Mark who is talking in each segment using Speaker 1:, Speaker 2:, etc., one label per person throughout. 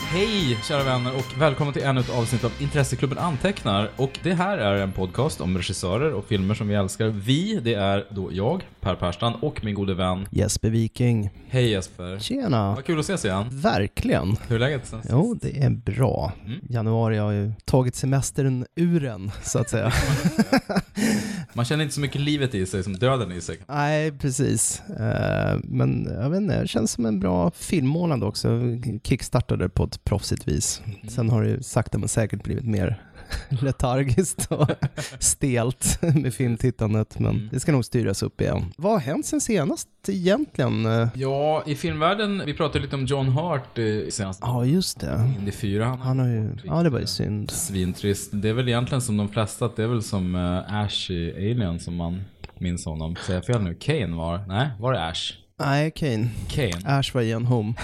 Speaker 1: Hej kära vänner och välkommen till ännu ett avsnitt av Intresseklubben Antecknar. Och det här är en podcast om regissörer och filmer som vi älskar. Vi, det är då jag, Per Perstan och min gode vän.
Speaker 2: Jesper Viking.
Speaker 1: Hej Jesper.
Speaker 2: Tjena!
Speaker 1: Vad kul att ses igen.
Speaker 2: Verkligen.
Speaker 1: Hur är läget? sen sist?
Speaker 2: Jo, det är bra.
Speaker 1: Mm.
Speaker 2: Januari har ju tagit semestern ur en, så att säga.
Speaker 1: Man känner inte så mycket livet i sig som döden i sig.
Speaker 2: Nej, precis. Eh, Men jag vet inte, det känns som en bra filmmånad också. Kickstartade på ett proffsigt vis.
Speaker 1: Mm.
Speaker 2: Sen har det ju sakta men säkert blivit mer letargiskt och stelt med filmtittandet, men
Speaker 1: Mm.
Speaker 2: det ska nog styras upp igen. Vad har hänt sen senast egentligen? Eh,
Speaker 1: Ja, i filmvärlden, vi pratade lite om John Hart i senaste
Speaker 2: Ja, just det.
Speaker 1: Indy 4.
Speaker 2: Han har ju... Ja, det var ju synd.
Speaker 1: Svintrist. Det är väl egentligen som de flesta, att det är väl som eh, Ash i Alien som man minns honom. Säger jag fel nu? Kane var Nej, var det Ash?
Speaker 2: Nej, Kane.
Speaker 1: Kane,
Speaker 2: Ash var igen home.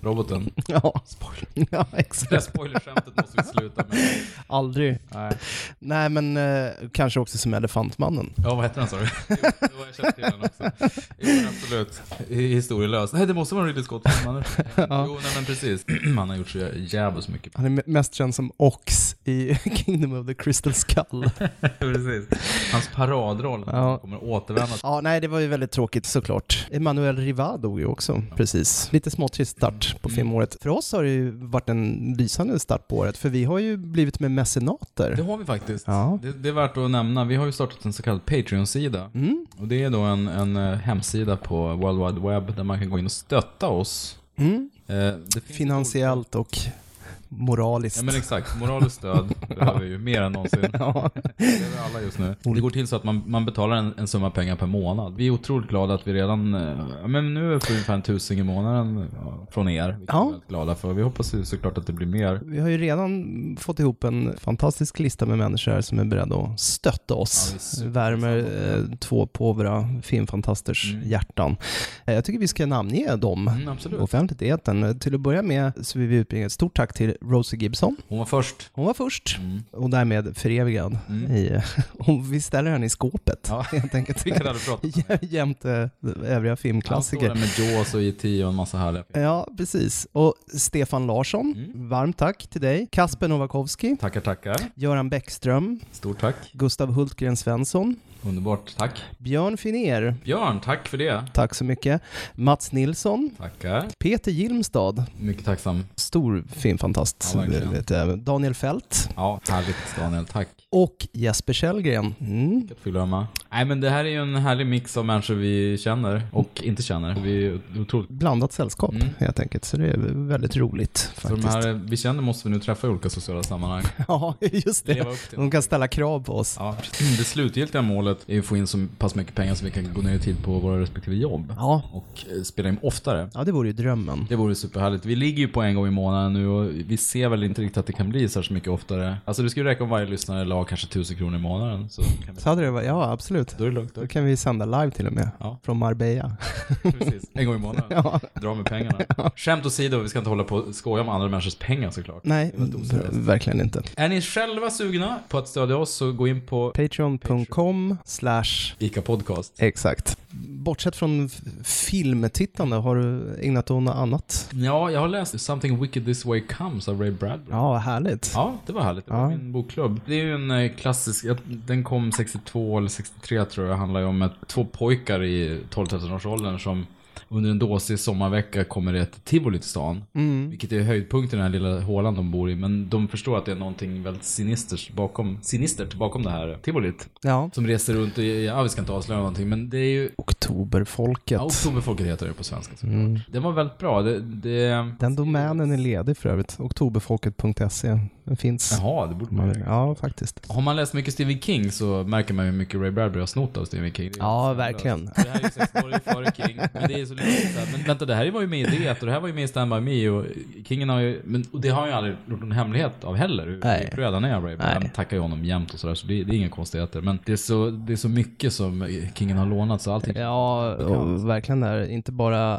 Speaker 1: roboten.
Speaker 2: Ja,
Speaker 1: Spoiler.
Speaker 2: ja exakt.
Speaker 1: Det här spoilerskämtet måste vi sluta med.
Speaker 2: Aldrig.
Speaker 1: Nej.
Speaker 2: Nej, men eh, kanske också som Elefantmannen.
Speaker 1: Ja, vad hette den sa du? Jo, det var jag kände till den också. Jo, men absolut. I- Historielös. Nej, det måste vara en Ridley Scott. men man- Jo, nej men precis. Han har gjort så jävligt mycket.
Speaker 2: Han är me- mest känd som Ox i Kingdom of the Crystal Skull.
Speaker 1: Precis. Hans paradroll
Speaker 2: Ja.
Speaker 1: kommer återvända.
Speaker 2: ja, nej, det var ju väldigt tråkigt såklart. Emmanuel Riva dog ju också, precis. Lite småtrist start på
Speaker 1: Mm.
Speaker 2: filmåret. För oss har det ju varit en lysande start på året, för vi har ju blivit med
Speaker 1: Det
Speaker 2: mecenater.
Speaker 1: har vi faktiskt.
Speaker 2: Ja.
Speaker 1: Det, det är värt att nämna. Vi har ju startat en så kallad Patreon-sida.
Speaker 2: Mm.
Speaker 1: Och det är då en, en eh, hemsida på World Wide Web där man kan gå in och stötta oss.
Speaker 2: Mm.
Speaker 1: Eh, det finns-
Speaker 2: Finansiellt och moraliskt.
Speaker 1: Ja men exakt, moraliskt stöd behöver vi ju mer än någonsin.
Speaker 2: Ja.
Speaker 1: Det behöver alla just nu. Det går till så att man, man betalar en, en summa pengar per månad. Vi är otroligt glada att vi redan, eh, ja, men nu är vi på ungefär en tusing i månaden ja, från er. Vilket
Speaker 2: Ja.
Speaker 1: vi är väldigt glada för. Vi hoppas ju såklart att det blir mer.
Speaker 2: Vi har ju redan fått ihop en fantastisk lista med människor här som är beredda att stötta
Speaker 1: Ja,
Speaker 2: oss.
Speaker 1: visst.
Speaker 2: Värmer eh, två påvra filmfantasters
Speaker 1: Mm.
Speaker 2: hjärtan. Eh, jag tycker vi ska namnge dem.
Speaker 1: Mm, absolut.
Speaker 2: Offentligt i etern. Eh, Till att börja med så vill vi utbringa ett stort tack till Rosie Gibson.
Speaker 1: Hon var först.
Speaker 2: Hon var först
Speaker 1: Mm.
Speaker 2: och därmed förevigad.
Speaker 1: Mm.
Speaker 2: I, och vi ställer henne i skåpet
Speaker 1: Ja.
Speaker 2: helt enkelt.
Speaker 1: Vilket hade pratat om.
Speaker 2: Jämte eh, övriga
Speaker 1: Han
Speaker 2: filmklassiker.
Speaker 1: står där med Jaws och E.T. och en massa härliga filmer.
Speaker 2: Ja, precis. Och Stefan Larsson,
Speaker 1: Mm.
Speaker 2: varmt tack till dig. Kasper Nowakowski.
Speaker 1: Tackar, tackar.
Speaker 2: Göran Bäckström,
Speaker 1: Stort tack.
Speaker 2: Gustav Hultgren Svensson,
Speaker 1: Underbart. Tack.
Speaker 2: Björn Finer,
Speaker 1: Björn, tack för det.
Speaker 2: tack så mycket, Mats Nilsson,
Speaker 1: Tackar.
Speaker 2: Peter Gilmstad,
Speaker 1: Mycket tacksam.
Speaker 2: stor filmfantast,
Speaker 1: Ja, verkligen.
Speaker 2: vet jag, Daniel Fält
Speaker 1: Ja, härligt Daniel. Tack.
Speaker 2: och Jesper Källgren. Mm.
Speaker 1: Att fylla dem med. Nej men det här är ju en härlig mix av människor vi känner och inte känner. Vi är otroligt
Speaker 2: Blandat sällskap
Speaker 1: Mm.
Speaker 2: helt enkelt, så det är väldigt roligt
Speaker 1: så de
Speaker 2: faktiskt.
Speaker 1: här eh, vi känner måste vi nu träffa i olika sociala sammanhang.
Speaker 2: Ja, just det.
Speaker 1: Leva upp till.
Speaker 2: De kan ställa krav på oss.
Speaker 1: Ja, precis. det slutgiltiga målet är att få in så pass mycket pengar så vi kan gå ner i tid på våra respektive jobb.
Speaker 2: Ja,
Speaker 1: Och eh, spela in oftare.
Speaker 2: ja det vore ju drömmen.
Speaker 1: Det vore superhärligt. Vi ligger ju på en gång i månaden nu och vi ser väl inte riktigt att det kan bli särskilt mycket oftare. Alltså det skulle räcka om varje lyssnare la kanske 1000 kronor i månaden. Så kan vi...
Speaker 2: Så hade det varit, ja absolut.
Speaker 1: Då är det lugnt. Då.
Speaker 2: Då kan vi sända live till och med,
Speaker 1: Ja.
Speaker 2: från Marbella.
Speaker 1: Precis. En gång i månaden.
Speaker 2: Ja.
Speaker 1: Dra med pengarna. Skämt åsido, vi ska inte hålla på och skoja om andra människors pengar såklart.
Speaker 2: Nej,
Speaker 1: Det var inte oseriöst.
Speaker 2: verkligen inte.
Speaker 1: Är ni själva sugna på att stödja oss så gå in på
Speaker 2: Patreon.com slash
Speaker 1: ICA Podcast.
Speaker 2: Exakt. Bortsett från f- filmtittande, har du ägnat dig åt något annat?
Speaker 1: Ja, jag har läst Something Wicked This Way Comes av Ray Bradbury.
Speaker 2: Ja, vad härligt.
Speaker 1: Ja, det var härligt. Det var
Speaker 2: Ja.
Speaker 1: min bokklubb. Det är ju en eh, klassisk, jag- den kom 62 eller 63 tror jag, handlar ju om ett, två pojkar i 12-13-årsåldern som under en dåsig sommarvecka kommer det ett tivoli till stan.
Speaker 2: Mm.
Speaker 1: Vilket är höjdpunkten i den här lilla hålan de bor i. Men de förstår att det är någonting väldigt sinistert bakom, sinistert bakom det här tivolit.
Speaker 2: Ja.
Speaker 1: Som reser runt och, ja vi ska inte avslöja någonting men det är ju
Speaker 2: Oktoberfolket.
Speaker 1: Ja, Oktoberfolket heter det på svenska såklart.
Speaker 2: Mm.
Speaker 1: Den var väldigt bra. Det, det...
Speaker 2: Den domänen är ledig för övrigt. Oktoberfolket.se. Den finns.
Speaker 1: Jaha, det borde
Speaker 2: Man
Speaker 1: man
Speaker 2: vill- Ja, faktiskt.
Speaker 1: Har man läst mycket Stephen King så märker man ju hur mycket Ray Bradbury har snott av Stephen King. Det är
Speaker 2: Ja,
Speaker 1: helt
Speaker 2: verkligen.
Speaker 1: sanslöst. Det här är ju 16 år före King. Men det är så lustigt. så här, Men vänta, det här var ju med i det och det här var ju med i Stand By Me och Kingen har ju, men, och det har han ju aldrig gjort någon hemlighet av heller. Hur
Speaker 2: Nej.
Speaker 1: hur röd han är, Ray.
Speaker 2: Nej.
Speaker 1: Han tackar ju honom jämt och sådär så det, det är inga konstigheter. Men det är, så, det är så mycket som Kingen har lånat så allting.
Speaker 2: Ja, och verkligen där. Inte bara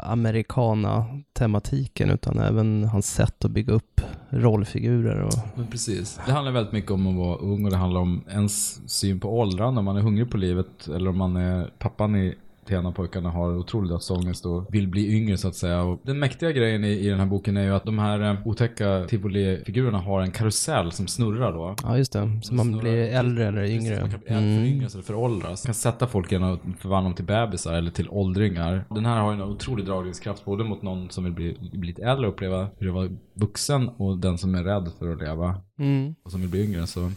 Speaker 2: americana-tematiken utan även hans sätt att bygga upp rollfigurer och...
Speaker 1: Men precis. Det handlar väldigt mycket om att vara ung och det handlar om ens syn på åldrande. Om man är hungrig på livet eller om man är pappan i Tena-pojkarna har otrolig dödsångest och vill bli yngre så att säga. Och den mäktiga grejen i, i den här boken är ju att de här eh, otäcka tivoli-figurerna har en karusell som snurrar då.
Speaker 2: Ja, just det. Så man
Speaker 1: Snurrar.
Speaker 2: blir äldre eller
Speaker 1: Alltså, Precis,
Speaker 2: yngre.
Speaker 1: Man kan bli äldre, alltså,
Speaker 2: Mm.
Speaker 1: föryngras eller föråldras. Man kan sätta folk genom att förvandla dem till bebisar eller till åldringar. Den här har ju en otrolig dragningskraft både mot någon som vill bli, bli lite äldre och uppleva hur det var vuxen och den som är rädd för att leva
Speaker 2: Mm.
Speaker 1: och som vill bli yngre så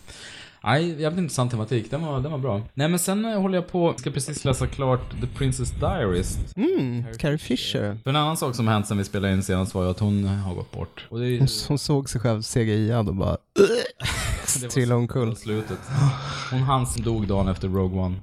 Speaker 1: Nej, jävligt intressant tematik. Den var, den var bra. Nej men sen eh, håller jag på, ska precis läsa klart The Princess Diaries.
Speaker 2: Mm, Carrie Fisher.
Speaker 1: För en annan sak som hänt sen vi spelade in senast var ju att hon eh, har gått bort. Och det är ju
Speaker 2: Hon såg sig själv CGI-ad och bara
Speaker 1: var
Speaker 2: trillade omkull.
Speaker 1: slutet. Hon han som dog dagen efter Rogue One.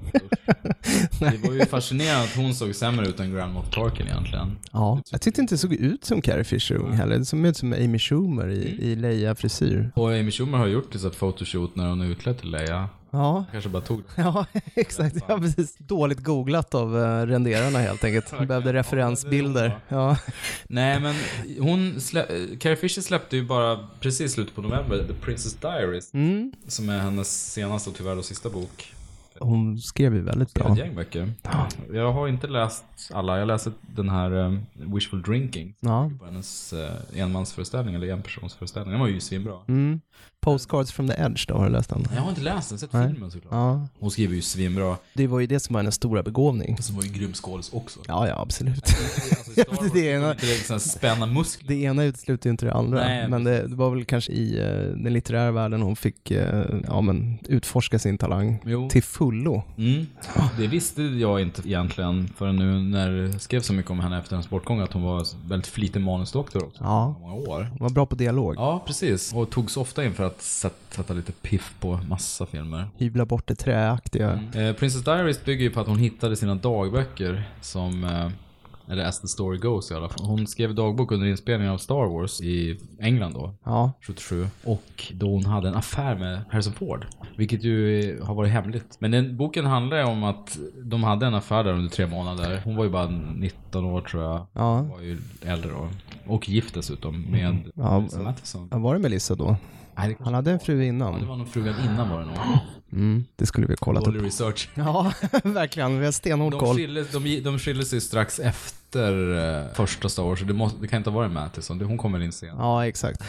Speaker 1: Det var ju fascinerande att hon såg sämre ut än Grand Moff Tarkin egentligen.
Speaker 2: Ja. Jag tyckte inte det såg ut som Carrie Fisher ung heller. Det såg ut som Amy Schumer i, i Leia-frisyr.
Speaker 1: Och Amy Schumer har gjort ett photoshoot när hon är utklädd till Leia.
Speaker 2: Ja.
Speaker 1: Kanske bara tog
Speaker 2: Ja, exakt. Ja, precis. Dåligt googlat av eh, renderarna helt enkelt. De behövde referensbilder. Ja.
Speaker 1: Nej men hon, slä- eh, Carrie Fisher släppte ju bara precis slutet på november The Princess Diaries.
Speaker 2: Mm.
Speaker 1: Som är hennes senaste och tyvärr då sista bok.
Speaker 2: Hon skrev ju väldigt
Speaker 1: Ett
Speaker 2: bra.
Speaker 1: gäng böcker. Jag har inte läst alla, jag läste den här eh, Wishful Drinking.
Speaker 2: Ja.
Speaker 1: På hennes eh, enmansföreställning eller enpersonsföreställning. Den var ju svinbra.
Speaker 2: Mm. Postcards from the Edge då, har du läst den?
Speaker 1: Jag har inte läst den, sett filmen såklart.
Speaker 2: Ja.
Speaker 1: Hon skriver ju svinbra.
Speaker 2: Det var ju det som var hennes stora begåvning.
Speaker 1: Som var ju en grym skådis också.
Speaker 2: Ja, ja, absolut.
Speaker 1: Alltså, i Star
Speaker 2: men
Speaker 1: Wars
Speaker 2: det är
Speaker 1: kunde
Speaker 2: en-
Speaker 1: inte liksom spänna muskler.
Speaker 2: Det ena utesluter ju inte det andra.
Speaker 1: Nej,
Speaker 2: men det, det var väl kanske i eh, den litterära världen hon fick eh, ja, men, utforska sin talang
Speaker 1: Jo.
Speaker 2: till fullo.
Speaker 1: Mm. Det visste jag inte egentligen förrän nu när det skrevs så mycket om henne efter hennes bortgång att hon var väldigt flitig manusdoktor också.
Speaker 2: Ja.
Speaker 1: Många år.
Speaker 2: Hon var bra på dialog.
Speaker 1: Ja, precis. Och togs ofta in för att sätt- sätta lite piff på massa filmer.
Speaker 2: Hyvla bort det träaktiga.
Speaker 1: Eh, Princess Diaries bygger ju på att hon hittade sina dagböcker som, eh, eller as the story goes i alla fall. Hon skrev dagbok under inspelningen av Star Wars i England då.
Speaker 2: Ja.
Speaker 1: 77 och då hon hade en affär med Harrison Ford. Vilket ju eh, har varit hemligt. Men den, boken handlar ju om att de hade en affär där under tre månader. Hon var ju bara 19 år tror jag.
Speaker 2: Ja.
Speaker 1: Var ju äldre då. Och gift dessutom med
Speaker 2: Ja.
Speaker 1: Melissa Matheson.
Speaker 2: Ja, Var det Melissa då?
Speaker 1: Nej, det,
Speaker 2: Han hade en fru
Speaker 1: ja, det
Speaker 2: innan.
Speaker 1: var nog frugan innan var det nog.
Speaker 2: Mm, det skulle vi ha kollat upp.
Speaker 1: Dålig research.
Speaker 2: Ja, verkligen. Vi har stenhård
Speaker 1: De
Speaker 2: koll.
Speaker 1: skilde, de, de skilde sig strax efter eh, första Star Wars, så det, måste, det kan inte ha varit Matheson. Det- Hon kommer in sen.
Speaker 2: Ja, exakt.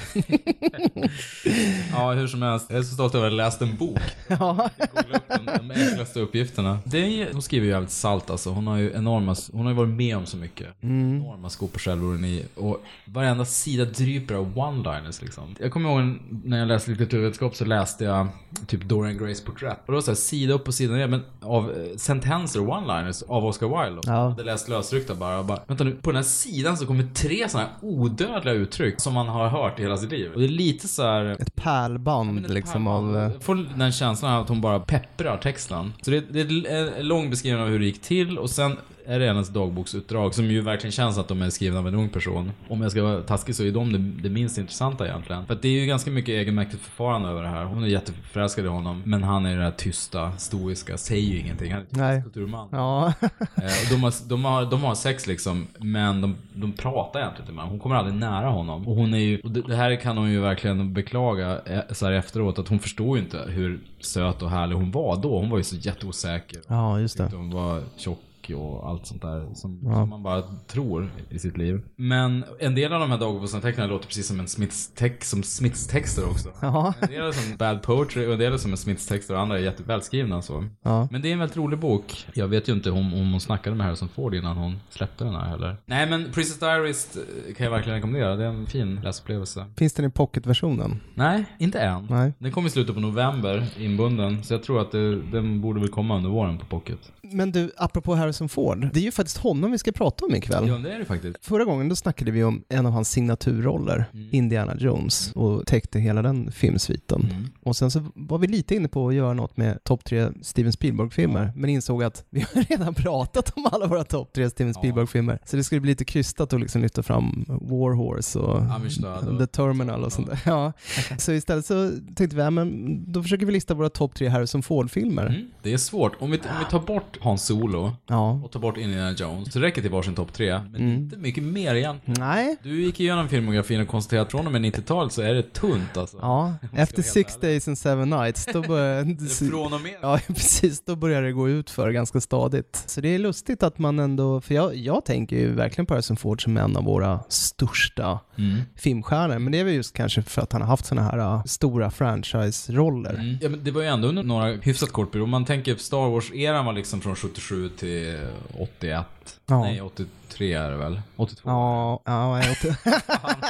Speaker 1: Ja, hur som helst. Jag är så stolt över att jag läst en bok.
Speaker 2: Ja.
Speaker 1: Googla upp de, de enklaste uppgifterna. Det är, hon skriver ju jävligt salt alltså. Hon har ju enorma, hon har ju varit med om så mycket. Enorma skopor självråden och varenda sida dryper av one-liners liksom. Jag kommer ihåg en- när jag läste litteraturvetenskap så läste jag typ Dorian Grays porträtt. Och då så här, sida upp och sida ner, men av eh, sentenser, one-liners av Oscar Wilde.
Speaker 2: Ja.
Speaker 1: Jag hade läst lösryckta bara, och bara. Vänta nu, på den här sidan så kommer tre sådana här odödliga uttryck som man har hört i hela sitt liv. Och det är lite så här
Speaker 2: Ett pärlband liksom av... eh,
Speaker 1: jag får den känslan att hon bara pepprar texten. Så det, det är en lång beskrivning av hur det gick till och sen är det hennes dagboksutdrag som ju verkligen känns att de är skrivna av en ung person. Om jag ska vara taskig så är de det, det minst intressanta egentligen. För att det är ju ganska mycket egenmäktigt förfarande över det här. Hon är jätteförälskad i honom, men han är det här tysta, stoiska, säger ju ingenting. Han är
Speaker 2: Nej.
Speaker 1: en kulturman.
Speaker 2: Ja.
Speaker 1: Eh, och De har, de, har, de har sex liksom, men de, de pratar egentligen inte med honom. Hon kommer aldrig nära honom. Och hon är ju, och det, det här kan hon ju verkligen beklaga eh, så här efteråt, att hon förstår ju inte hur söt och härlig hon var då. Hon var ju så jätteosäker.
Speaker 2: ja, just det.
Speaker 1: Hon var tjock och allt sånt där som, som man bara tror i sitt liv. Men en del av de här dagboksanteckningarna låter precis som en Smiths-text, som Smiths-texter också.
Speaker 2: Ja.
Speaker 1: En del är som bad poetry och en del är som en Smiths texter och andra är jättevälskrivna så.
Speaker 2: Ja.
Speaker 1: Men det är en väldigt rolig bok. Jag vet ju inte om, om hon snackade med Harrison Ford innan hon släppte den här heller. Nej men Princess Diaries eh, kan jag verkligen rekommendera. Det är en fin läsupplevelse.
Speaker 2: Finns den i pocketversionen?
Speaker 1: Nej, inte än.
Speaker 2: Nej.
Speaker 1: Den kom i slutet på november, inbunden. Så jag tror att det, den borde väl komma under våren på Pocket.
Speaker 2: Men du, apropå Harrison Ford. Det är ju faktiskt honom vi ska prata om ikväll.
Speaker 1: Ja, det är det faktiskt.
Speaker 2: Förra gången då snackade vi om en av hans signaturroller,
Speaker 1: Mm.
Speaker 2: Indiana Jones, och täckte hela den filmsviten.
Speaker 1: Mm.
Speaker 2: Och sen så var vi lite inne på att göra något med topp tre Steven Spielberg-filmer, men insåg att vi har redan pratat om alla våra topp tre Steven Spielberg-filmer. Så det skulle bli lite krystat att liksom lyfta fram War Horse och
Speaker 1: Amish död och-
Speaker 2: The Terminal och sånt där. Ja. Så istället så tänkte vi, ja, men då försöker vi lista våra topp tre Harrison Ford-filmer.
Speaker 1: Mm. Det är svårt. Om vi, om vi tar bort Hans Solo,
Speaker 2: Ja.
Speaker 1: och ta bort Indiana Jones. Så det räcker till varsin topp tre, men
Speaker 2: Mm.
Speaker 1: inte mycket mer egentligen.
Speaker 2: Nej.
Speaker 1: Du gick igenom filmografin och konstaterade att från och med 90-talet så är det tunt alltså.
Speaker 2: Ja, efter Six Days and Seven Nights, då
Speaker 1: Eller
Speaker 2: börjar...
Speaker 1: Från och med.
Speaker 2: Ja, precis. Då börjar det gå ut för ganska stadigt. Så det är lustigt att man ändå, för jag, jag tänker ju verkligen på Harrison Ford som en av våra största
Speaker 1: Mm.
Speaker 2: filmstjärnor. Men det är väl just kanske för att han har haft sådana här äh, stora franchise-roller.
Speaker 1: Mm. Ja, men det var ju ändå under några hyfsat kort period. Om man tänker Star Wars-eran var liksom från 77 till 81.
Speaker 2: Ja.
Speaker 1: Nej, 83 är det väl? 82?
Speaker 2: Ja, ja jag vet inte.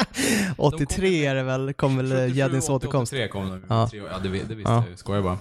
Speaker 2: 83 är det väl, kom väl
Speaker 1: 77,
Speaker 2: Gäddins
Speaker 1: 80,
Speaker 2: återkomst.
Speaker 1: 83 kom de
Speaker 2: Ja.
Speaker 1: ja. ja, det, vi- det visste
Speaker 2: Ja.
Speaker 1: jag ju. Skojar bara.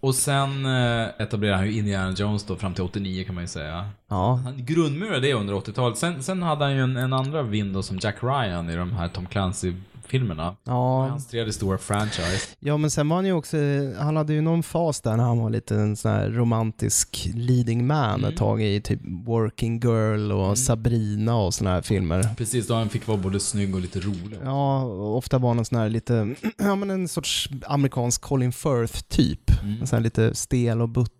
Speaker 1: Och sen eh, etablerade han ju Indiana Jones då fram till 89 kan man ju säga.
Speaker 2: Ja,
Speaker 1: Han grundmurade det under 80-talet. Sen, sen hade han ju en, en andra vind då som Jack Ryan i de här Tom Clancy-filmerna.
Speaker 2: ja.
Speaker 1: Hans tredje stora franchise.
Speaker 2: ja, men sen var han ju också, han hade ju någon fas där när han var lite en sån här romantisk leading man
Speaker 1: Mm.
Speaker 2: ett tag i typ Working Girl och Sabrina och såna här filmer.
Speaker 1: Precis, då han fick vara både snygg och lite rolig.
Speaker 2: Ja, och ofta var han en sån här lite, ja men en sorts amerikansk Colin Firth typ. En sån här lite stel och butter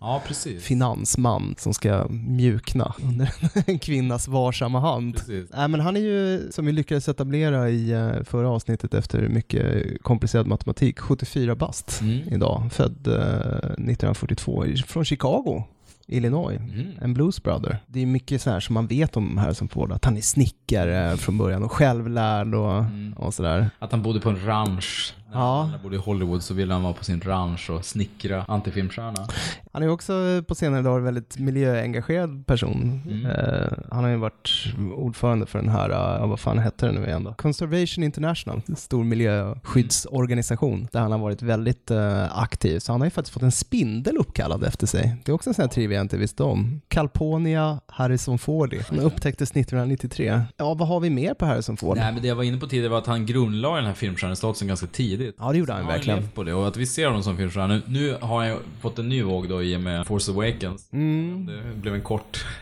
Speaker 1: Ja, Mm. precis. Mm.
Speaker 2: finansman som ska mjukna under en kvinnas varsamma hand.
Speaker 1: precis.
Speaker 2: Nej, men han är ju, som vi lyckades etablera i eh, förra avsnittet efter mycket komplicerad matematik, 74 bast
Speaker 1: Mm.
Speaker 2: idag. Född eh, 1942 i- från Chicago, Illinois.
Speaker 1: Mm.
Speaker 2: En blues brother. Det är mycket så här som man vet om Harrison Ford, att han är snickare från början och självlärd och,
Speaker 1: Mm.
Speaker 2: och sådär.
Speaker 1: Att han bodde på en ranch. När
Speaker 2: Ja.
Speaker 1: han bodde i Hollywood så ville han vara på sin ranch och snickra antifilmstjärna.
Speaker 2: Han är också eh, på senare dagar en väldigt miljöengagerad person. Eh, han har ju varit ordförande för den här, eh, ja, vad fan hette den nu igen då? Conservation International, en stor miljöskyddsorganisation där han har varit väldigt eh, aktiv. Så han har ju faktiskt fått en spindel uppkallad efter sig. Det är också en sån här trivia jag inte visste om. Calponia Harrison Fordi. Han upptäcktes 1993. Ja, vad har vi mer på Harrison Ford?
Speaker 1: Nej, men det jag var inne på tidigare var att han grundlade den här filmstjärnestatusen ganska tidigt.
Speaker 2: Ja, det gjorde han
Speaker 1: Han
Speaker 2: ju
Speaker 1: har ju
Speaker 2: verkligen.
Speaker 1: levt på det och att vi ser honom som filmstjärna. Nu, nu har han ju fått en ny våg då i och med Force Awakens. Det blev en kort...
Speaker 2: Mm.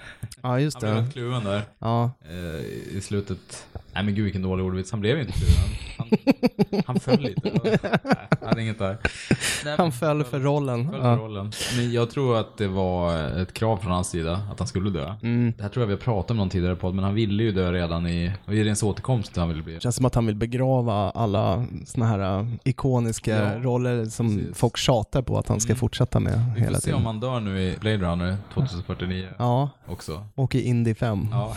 Speaker 2: Ja,
Speaker 1: Han
Speaker 2: just
Speaker 1: blev
Speaker 2: det.
Speaker 1: rätt kluven där
Speaker 2: Ja.
Speaker 1: eh, i slutet. Nej men gud vilken dålig ordvits. Han blev ju inte kluven. Han, han föll lite. Nej, han hade inget där. Nej,
Speaker 2: Han föll för rollen.
Speaker 1: Föll för
Speaker 2: Ja.
Speaker 1: rollen. Men jag tror att det var ett krav från hans sida att han skulle dö.
Speaker 2: Mm.
Speaker 1: Det här tror jag vi har pratat om någon tidigare podd, men han ville ju dö redan i, och i ens återkomst han ville bli.
Speaker 2: Det känns som att han vill begrava alla såna här äh, ikoniska
Speaker 1: Ja, Mm.
Speaker 2: roller som folk tjatar på att han ska fortsätta med
Speaker 1: Vi får
Speaker 2: hela
Speaker 1: se om
Speaker 2: tiden.
Speaker 1: han dör nu i Blade Runner 2049
Speaker 2: Ja,
Speaker 1: också.
Speaker 2: och i Indy 5.
Speaker 1: Ja,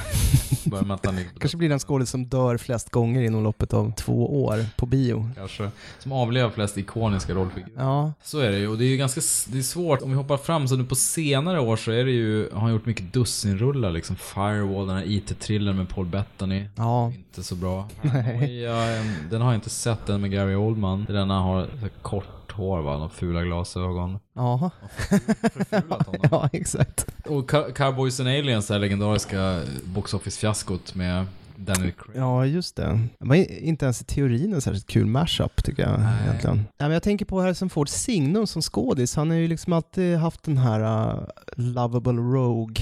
Speaker 1: börjar med att han ligger på
Speaker 2: Kanske blir den skådis som dör flest gånger inom loppet av två år på bio.
Speaker 1: kanske. Som avlever flest ikoniska rollfigurer.
Speaker 2: Ja,
Speaker 1: Så är det ju och det är ju ganska s- det är svårt. Om vi hoppar fram så nu på senare år så är det ju, har han gjort mycket dussinrullar liksom. Firewall, den här IT-thrillern med Paul Bettany.
Speaker 2: ja.
Speaker 1: Inte så bra. Paranoia, en- den har jag inte sett, den med Gary Oldman. Det är Den han har så här kort hår va, och fula glasögon.
Speaker 2: Ja,
Speaker 1: Förfulat honom.
Speaker 2: ja exakt.
Speaker 1: Och Cow- Cowboys and Aliens, det här legendariska box office-fiaskot med Daniel Craig.
Speaker 2: Ja, just det. Det var i- inte ens i teorin en särskilt kul mashup tycker jag
Speaker 1: Nej.
Speaker 2: egentligen. Nej, men jag tänker på Harrison Ford signum som skådis. Han har ju liksom alltid haft den här uh, lovable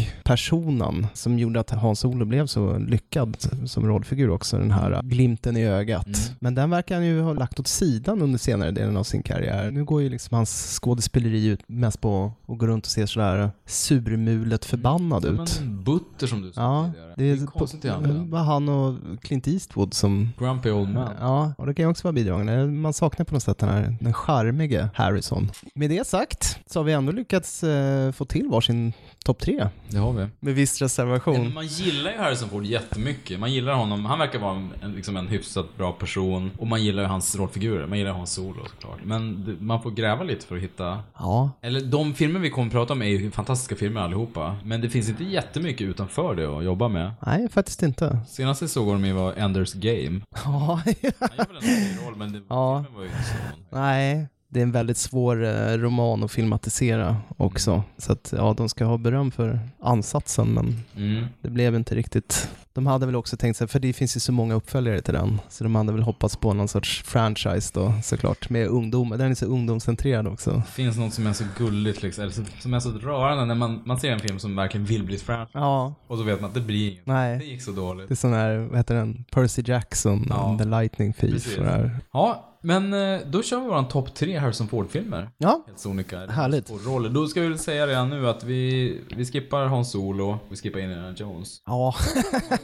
Speaker 2: rogue-personen som gjorde att Hans-Olo blev så lyckad som rollfigur också. Den här uh, glimten i ögat. Men den verkar han ju ha lagt åt sidan under senare delen av sin karriär. Nu går ju liksom hans skådespeleri ut mest på att gå runt och se sådär äh, surmulet förbannad
Speaker 1: Som
Speaker 2: ut.
Speaker 1: en butter som du sa
Speaker 2: Ja,
Speaker 1: tidigare.
Speaker 2: det är,
Speaker 1: konstigt i
Speaker 2: det Mm.
Speaker 1: handen.
Speaker 2: var han och Clint Eastwood som
Speaker 1: Grumpy old man.
Speaker 2: Ja, och det kan ju också vara bidragande. Man saknar på något sätt den här den charmige Harrison. Med det sagt så har vi ändå lyckats eh, få till varsin topp tre.
Speaker 1: Det har vi.
Speaker 2: Med viss
Speaker 1: Ja, men
Speaker 2: reservation.
Speaker 1: man gillar ju Harrison Ford jättemycket. Man gillar honom. Han verkar vara en, en- liksom en hyfsat bra person. Och man gillar ju hans rollfigurer. Man gillar ju hans solo såklart. Men det, man får gräva lite för att hitta.
Speaker 2: Ja,
Speaker 1: Eller de filmer vi kommer att prata om är ju fantastiska filmer allihopa. Men det finns inte jättemycket utanför det att jobba med.
Speaker 2: nej faktiskt inte.
Speaker 1: Senast jag såg honom i var Enders Game.
Speaker 2: Ja,
Speaker 1: Han gör väl en okej roll men det,
Speaker 2: Ja.
Speaker 1: filmen var ju inte så.
Speaker 2: nej. Det är en väldigt svår eh, roman att filmatisera också. Så att ja, de ska ha beröm för ansatsen men
Speaker 1: Mm.
Speaker 2: det blev inte riktigt. De hade väl också tänkt sig, för det finns ju så många uppföljare till den, så de hade väl hoppats på någon sorts franchise då såklart med ungdomar. Den är så ungdomscentrerad också.
Speaker 1: finns något som är så gulligt liksom, eller som- som är så rörande när man, man ser en film som verkligen vill bli ett franchise
Speaker 2: Ja,
Speaker 1: och så vet man att det blir inget. Det
Speaker 2: nej.
Speaker 1: gick så dåligt.
Speaker 2: Det är sån här, vad heter den, Percy Jackson,
Speaker 1: Ja.
Speaker 2: The Lightning Thief
Speaker 1: Precis.
Speaker 2: och det här.
Speaker 1: Ja, Men eh, då kör vi våran topp tre Harrison Ford-filmer.
Speaker 2: Ja,
Speaker 1: Helt sonika.
Speaker 2: Härligt.
Speaker 1: Och roller. Då ska vi väl säga redan nu att vi, vi skippar Hans Solo, vi skippar Indiana Jones.
Speaker 2: ja.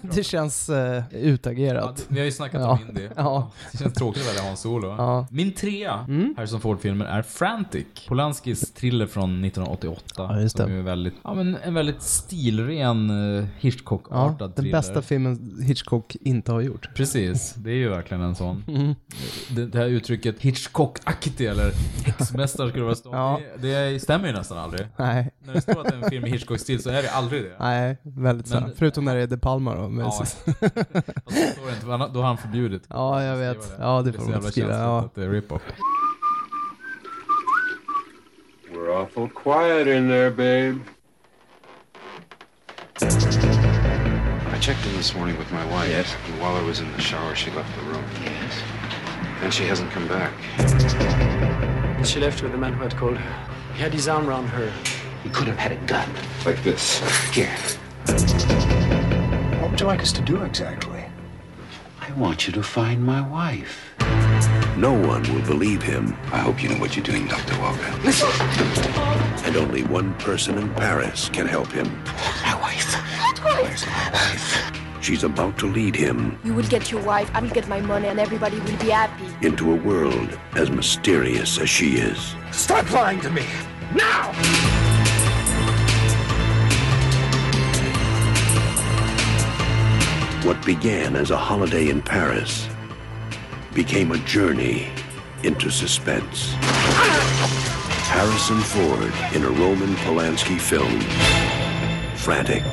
Speaker 2: det känns eh,
Speaker 1: Ja,
Speaker 2: utagerat.
Speaker 1: det- vi har ju snackat
Speaker 2: Ja.
Speaker 1: om Indy.
Speaker 2: Ja.
Speaker 1: Det känns tråkigt att välja Hans Solo.
Speaker 2: Ja. Mm.
Speaker 1: Min trea Harrison Ford-filmer är Frantic. Polanskis thriller från 1988.
Speaker 2: Ja, just det.
Speaker 1: Som ju är väldigt, ja, men en väldigt stilren eh, Hitchcock-artad
Speaker 2: Ja, den
Speaker 1: thriller.
Speaker 2: bästa filmen Hitchcock inte har gjort.
Speaker 1: Precis, det är ju verkligen en sån.
Speaker 2: Mm.
Speaker 1: Det, det här uttrycket Hitchcock-aktig eller häxmästare skulle det vara stå.
Speaker 2: Ja.
Speaker 1: Det, det stämmer ju nästan aldrig.
Speaker 2: Nej,
Speaker 1: När det står att det är en film i Hitchcock-stil så är det aldrig det.
Speaker 2: nej, väldigt
Speaker 1: Men-
Speaker 2: sällan. Förutom när det är De Palma då.
Speaker 1: Ja.
Speaker 2: Men, ja.
Speaker 1: Fast det står inte, för annars- då har han förbjudit.
Speaker 2: jag vet. Ja, det
Speaker 1: är så
Speaker 2: får man
Speaker 1: jävla
Speaker 2: inte skriva.
Speaker 1: känsligt
Speaker 2: Ja.
Speaker 1: att det är rip-off.
Speaker 3: We're awful quiet in there, babe.
Speaker 4: I checked in this morning with my wife. And while I was in the shower, she left the room. Yes. And she hasn't come back.
Speaker 5: She left with the man who had called her. He had his arm round her.
Speaker 4: He could have had a gun. Like this. Here.
Speaker 6: What would you like us to do exactly?
Speaker 4: I want you to find my wife.
Speaker 7: No one will believe him,
Speaker 4: I hope you know what you're doing, Dr. Walker.
Speaker 7: and only one person in Paris can help him.
Speaker 4: My wife. Where's my wife?
Speaker 7: She's about to lead him
Speaker 8: You will get your wife, I will get my money, and everybody will be happy.
Speaker 7: into a world as mysterious as she is.
Speaker 6: Stop lying to me! Now!
Speaker 7: What began as a holiday in Paris became a journey into suspense. Harrison Ford in a Roman Polanski film. Frantic.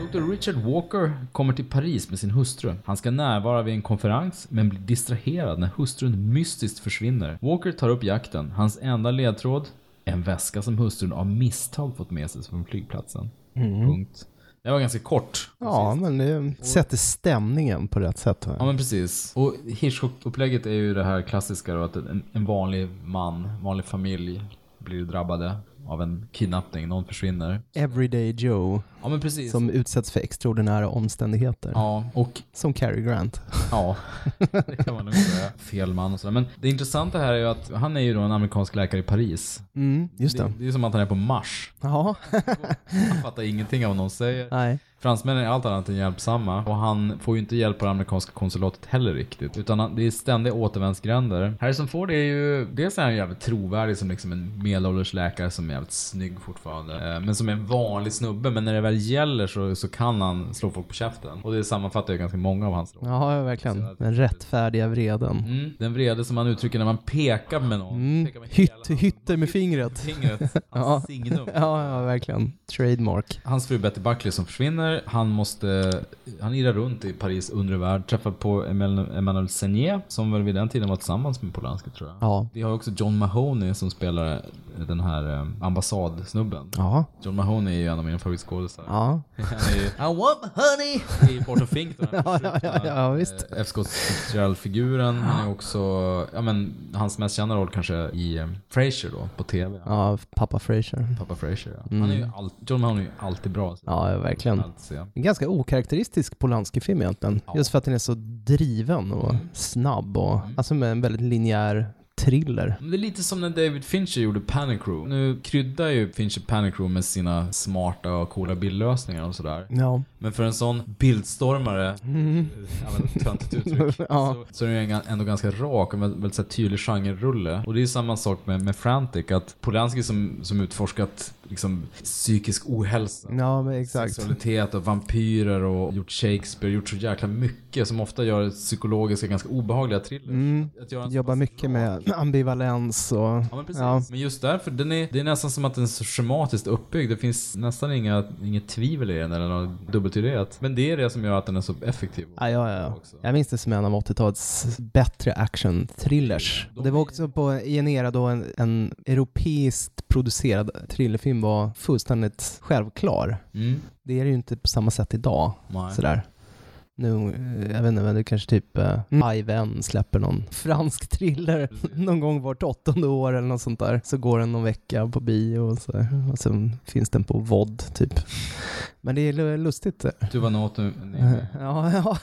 Speaker 1: Dr. Richard Walker kommer till Paris med sin hustru. Han ska närvara vid en konferens, men blir distraherad när hustrun mystiskt försvinner. Walker tar upp jakten. Hans enda ledtråd? En väska som hustrun av misstag fått med sig från flygplatsen. Punkt. Det var ganska kort.
Speaker 2: Ja, men det sätter stämningen på rätt sätt. va?
Speaker 1: Ja men precis. Och Hitchcock-upplägget är ju det här klassiska då att en, en vanlig man, en vanlig familj blir drabbade av en kidnappning, någon försvinner.
Speaker 2: Everyday Joe
Speaker 1: Ja men precis.
Speaker 2: som utsätts för extraordinära omständigheter.
Speaker 1: Ja, och
Speaker 2: Som Cary Grant.
Speaker 1: Ja, det kan man nog säga. Fel man och sådär. Men det intressanta här är ju att han är ju då en amerikansk läkare i Paris.
Speaker 2: Mm, just det.
Speaker 1: Det, det är som att han är på Mars.
Speaker 2: Ja,
Speaker 1: Han fattar ingenting av vad någon säger.
Speaker 2: nej.
Speaker 1: Fransmännen är allt annat än hjälpsamma och han får ju inte hjälp på det amerikanska konsulatet heller riktigt. Utan han, det är ständiga återvändsgränder. Harrison Ford är ju, dels är han jävligt trovärdig som liksom en medelålders läkare som är jävligt snygg fortfarande. Eh, Men som är en vanlig snubbe, men när det väl gäller så, så kan han slå folk på käften. Och det sammanfattar ju ganska många av hans roller.
Speaker 2: Ja, ja, verkligen. Den rättfärdiga vreden. Mm.
Speaker 1: Mm, den vrede som han uttrycker när man pekar med någon. Pekar med
Speaker 2: Hytt,
Speaker 1: hela
Speaker 2: hytter med fingret.
Speaker 1: fingret.
Speaker 2: Ja.
Speaker 1: Hans signum.
Speaker 2: Ja, ja, verkligen. Trademark.
Speaker 1: Hans fru Betty Buckley som försvinner. Han måste... Han irrar runt i Paris undervärld. Träffar på Emmanuel Emmanuel Seigné som väl vid den tiden var tillsammans med Polanski tror jag.
Speaker 2: Ja.
Speaker 1: Vi har också John Mahoney som spelar den här eh, ambassadsnubben.
Speaker 2: Ja,
Speaker 1: John Mahoney är ju en av mina favoritskådisar.
Speaker 2: ja.
Speaker 1: Han är ju I want honey! I Porto Fink då, den här
Speaker 2: Ja, ja, ja, ja, visst.
Speaker 1: Eh, F. Scott Fitzgerald-figuren. Han är också, ja men hans mest kända roll kanske i eh, Frasier då, på TV.
Speaker 2: Ja, pappa Fraser.
Speaker 1: Pappa Frasier ja. Han är ju all, John Mahoney är ju alltid bra. så
Speaker 2: Ja, ja, verkligen.
Speaker 1: allt se.
Speaker 2: En ganska okaraktäristisk Polanski-film egentligen. Just för att den är så driven och
Speaker 1: Mm.
Speaker 2: snabb och alltså med en väldigt linjär thriller.
Speaker 1: Men Det är lite som när David Fincher gjorde Panic Room. Nu kryddar ju Fincher Panic Room med sina smarta och coola bildlösningar och sådär.
Speaker 2: Ja,
Speaker 1: Men för en sån bildstormare,
Speaker 2: Mm.
Speaker 1: använder ett töntigt uttryck, så, så är den ju en- ändå ganska rak och väldigt, väldigt så här, tydlig genrerulle. Och det är ju samma sak med, med Frantic, att Polanski som, som utforskat liksom, psykisk ohälsa,
Speaker 2: ja men exakt.
Speaker 1: sexualitet och vampyrer och gjort Shakespeare, gjort så jäkla mycket som ofta gör psykologiska ganska obehagliga thrillers. Att göra en så
Speaker 2: Mm. Jobbar
Speaker 1: pass
Speaker 2: mycket
Speaker 1: rak-
Speaker 2: med ambivalens och...
Speaker 1: Ja men precis. Men just därför, den är, det är nästan som att den är så schematiskt uppbyggd. Det finns nästan inga, inget tvivel i den eller något dubbeltydigt. Men det är det som gör att den är så effektiv.
Speaker 2: Ja, ja, ja. Jag minns det som en av 80-talets bättre action-thrillers. Och Det var också på, i en era då en, en europeiskt producerad thrillerfilm var fullständigt självklar.
Speaker 1: Mm.
Speaker 2: Det är det ju inte på samma sätt idag.
Speaker 1: Nej.
Speaker 2: Sådär. Nu, eh, jag vet inte, men det är kanske typ eh, Ivan släpper någon fransk thriller någon gång vart åttonde år eller något sånt där. Så går den någon vecka på bio och, så, och sen finns den på vod typ. Men det är lu- lustigt. eh.
Speaker 1: Tuvanatu.
Speaker 2: Ja, ja,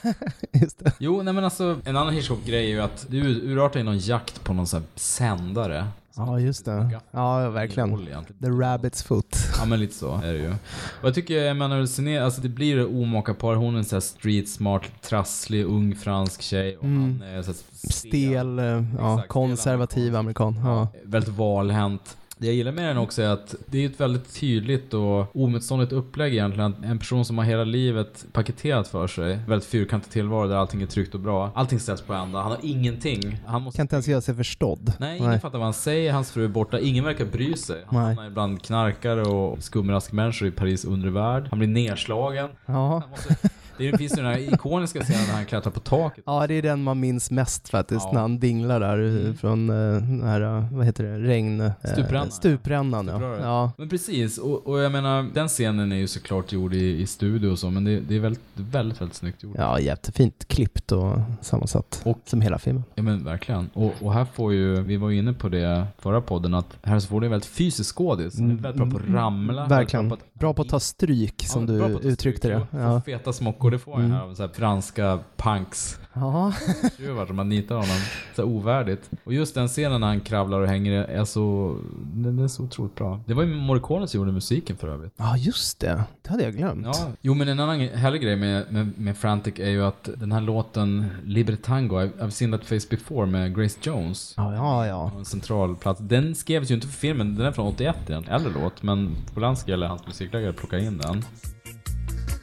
Speaker 2: just det.
Speaker 1: Jo, nej men alltså en annan Hitchcock-grej är ju att det ur- urartar i någon jakt på någon sån här sändare.
Speaker 2: Ja, just det. Ja, ja, verkligen.
Speaker 1: Roll egentligen.
Speaker 2: The Rabbit's Foot.
Speaker 1: Ja men lite så är det ju. Och jag tycker Emanuel Ciné, alltså det blir det omaka par. Hon är en sån här street smart, trasslig, ung fransk tjej och han är så här
Speaker 2: Mm. Stel, eh, ja,
Speaker 1: stel
Speaker 2: konservativ amerikan. Ja.
Speaker 1: Väldigt valhänt. Det jag gillar med den också är att det är ett väldigt tydligt och omotståndligt upplägg egentligen. Att En person som har hela livet paketerat för sig, väldigt fyrkantig tillvaro där allting är tryggt och bra. Allting ställs på ända, han har ingenting. Han måste
Speaker 2: Kan inte ens göra sig förstådd.
Speaker 1: Nej, ingen fattar vad han säger. Hans fru är borta. Ingen verkar bry sig. Han
Speaker 2: Nej.
Speaker 1: hamnar ibland knarkare och skumraskmänniskor i Paris undre värld. Han blir nedslagen.
Speaker 2: Ja.
Speaker 1: Han måste... Det finns ju den här ikoniska scenen när han klättrar på taket.
Speaker 2: Ja, det är den man minns mest faktiskt,
Speaker 1: Ja. Mm.
Speaker 2: när han dinglar där eh, från eh, den här, eh, vad heter det, regn... eh,
Speaker 1: Stuprännan.
Speaker 2: Stuprännan, ja.
Speaker 1: Stupröret.
Speaker 2: ja.
Speaker 1: Men precis, och, och jag menar, den scenen är ju såklart gjord i, i studio och så, men det, det är väldigt, väldigt, väldigt snyggt gjort.
Speaker 2: Ja, jättefint klippt och sammansatt.
Speaker 1: Och-
Speaker 2: som hela filmen.
Speaker 1: Ja men verkligen. Och, och här får ju, vi var ju inne på det förra podden, att här så får du en väldigt fysisk skådis. Den är Väldigt bra på att ramla.
Speaker 2: Mm.
Speaker 1: Väldigt bra
Speaker 2: Verkligen.
Speaker 1: på att-
Speaker 2: Bra på att ta stryk, som
Speaker 1: Ja,
Speaker 2: du
Speaker 1: bra på att ta
Speaker 2: uttryckte
Speaker 1: stryk.
Speaker 2: det.
Speaker 1: Jo,
Speaker 2: Ja. Mm.
Speaker 1: får Feta smockor, det får han här av så här franska punks.
Speaker 2: ja.
Speaker 1: skruvar som man nitar honom. Så här ovärdigt. Och just den scenen när han kravlar och hänger är så... Den är så otroligt bra. Det var ju Morricone som gjorde musiken för övrigt.
Speaker 2: Ja, just det. Det hade jag glömt.
Speaker 1: Ja. Jo men en annan härlig grej med, med, med Frantic är ju att den här låten Libertango, I've I've seen that face before med Grace Jones.
Speaker 2: Ja, ja, ja.
Speaker 1: En central plats. Den skrevs ju inte för filmen, den är från 81 den äldre låt. Men Polanski eller hans musikläggare plockade in den.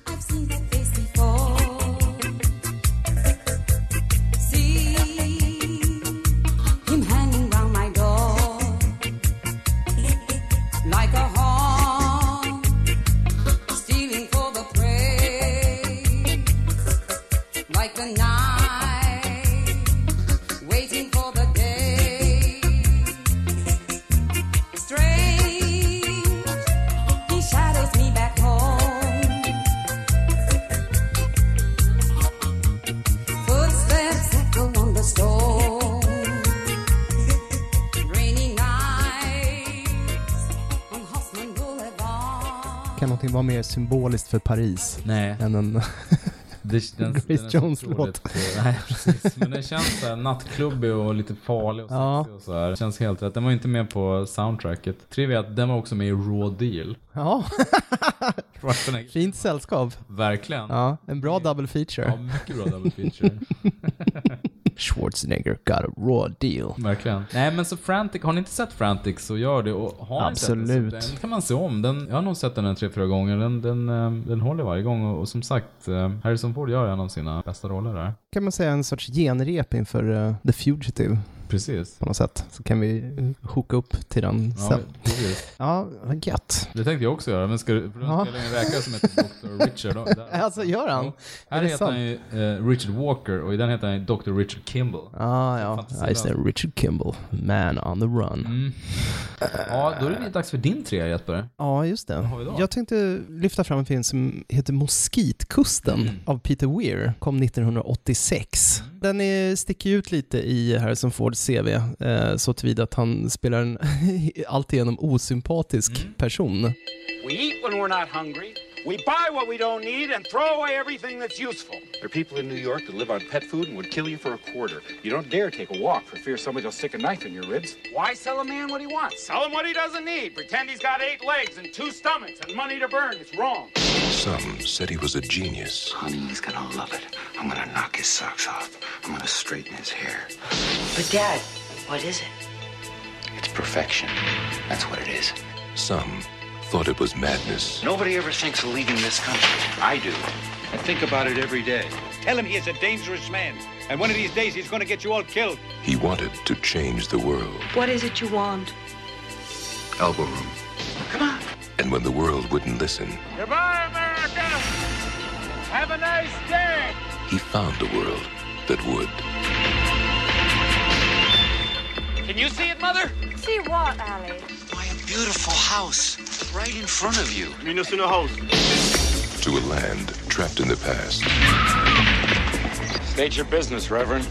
Speaker 9: I've seen that face before. See him hanging round my door like a horn, stealing for the prey, like a knife, waiting for the day. Strange, he shadows me back home. Footsteps echo on the stone. Rainy nights on Hoffman Boulevard.
Speaker 2: Kan någonting vara mer symboliskt för Paris
Speaker 1: Nej.
Speaker 2: än en...
Speaker 1: Det, den,
Speaker 2: Grace
Speaker 1: den är så
Speaker 2: Jones
Speaker 1: otroligt-
Speaker 2: låt.
Speaker 1: Nej, precis. Men den känns såhär nattklubbig och lite farlig och
Speaker 2: Ja.
Speaker 1: sexig och så här. Känns helt rätt. Den var ju inte med på soundtracket. Trivia är att den var också med i Raw Deal.
Speaker 2: ja,
Speaker 1: Schwarzenegger.
Speaker 2: fint sällskap.
Speaker 1: Verkligen. Ja.
Speaker 2: Ja, en bra double feature.
Speaker 1: mycket bra double feature.
Speaker 2: Schwarzenegger got a raw deal.
Speaker 1: Verkligen. Nej men så Frantic, har ni inte sett Frantic så gör det. Och har ni sett
Speaker 2: Absolut.
Speaker 1: Den, så den kan man se om. Den, jag har nog sett den en tre, fyra gånger. Den, den, eh, den håller varje gång. Och, och som sagt, eh, Harrison Ford gör en av sina bästa roller där.
Speaker 2: kan man säga en sorts genrep inför eh, The Fugitive
Speaker 1: Precis.
Speaker 2: på något sätt. Så kan vi eh, hooka upp till den
Speaker 1: Ja,
Speaker 2: sen.
Speaker 1: precis.
Speaker 2: Ja, vad gött.
Speaker 1: Det tänkte jag också göra, men ska du, för
Speaker 2: Ja.
Speaker 1: ja. spelar en läkare som heter Dr. Richard. då- där.
Speaker 2: Alltså, gör han?
Speaker 1: Ja.
Speaker 2: Är
Speaker 1: Här
Speaker 2: det
Speaker 1: heter
Speaker 2: sant?
Speaker 1: han ju eh, Richard Walker och i den heter han ju Dr. Richard Kimball.
Speaker 2: Ah, ja,
Speaker 1: Fantasilöst.
Speaker 2: ja just det. Richard Kimball, Man on the Run.
Speaker 1: Mm. Ja, då är det dags för din trea Jesper.
Speaker 2: Ja, just det.
Speaker 1: vi då?
Speaker 2: Jag tänkte lyfta fram en film som heter Moskitkusten
Speaker 1: Mm.
Speaker 2: av Peter Weir. Kom 1986. Den är, sticker ut lite i Harrison Fords CV eh, så tillvida att han spelar en alltigenom osympatisk
Speaker 1: Mm.
Speaker 2: person.
Speaker 6: We eat when we're not hungry. We buy what we don't need and throw away everything that's useful.
Speaker 4: There are people in New York that live on pet food and would kill you for a quarter. You don't dare take a walk for fear somebody will stick a knife in your ribs.
Speaker 6: Why sell a man what he wants? Sell him what he doesn't need. Pretend he's got eight legs and two stomachs and money to burn. It's wrong.
Speaker 7: Some said he was a genius.
Speaker 3: Honey, he's gonna love it. I'm gonna knock his socks off. I'm gonna straighten his hair.
Speaker 10: But, Dad, what is it?
Speaker 3: It's perfection. That's what it is.
Speaker 7: Some thought it was madness.
Speaker 3: Nobody ever thinks of leaving this country. I do. I think about it every day.
Speaker 6: Tell him he is a dangerous man. And one of these days he's going to get you all killed.
Speaker 7: He wanted to change the world.
Speaker 10: What is it you want?
Speaker 3: Elbow room.
Speaker 7: And when the world wouldn't listen,
Speaker 6: Goodbye, America. Have a nice day.
Speaker 7: he found a world that would.
Speaker 6: Can you see it, Mother?
Speaker 8: See what, Ali?
Speaker 3: Buy a beautiful house right in front of you.
Speaker 7: To a land trapped in the past.
Speaker 4: State your business, Reverend.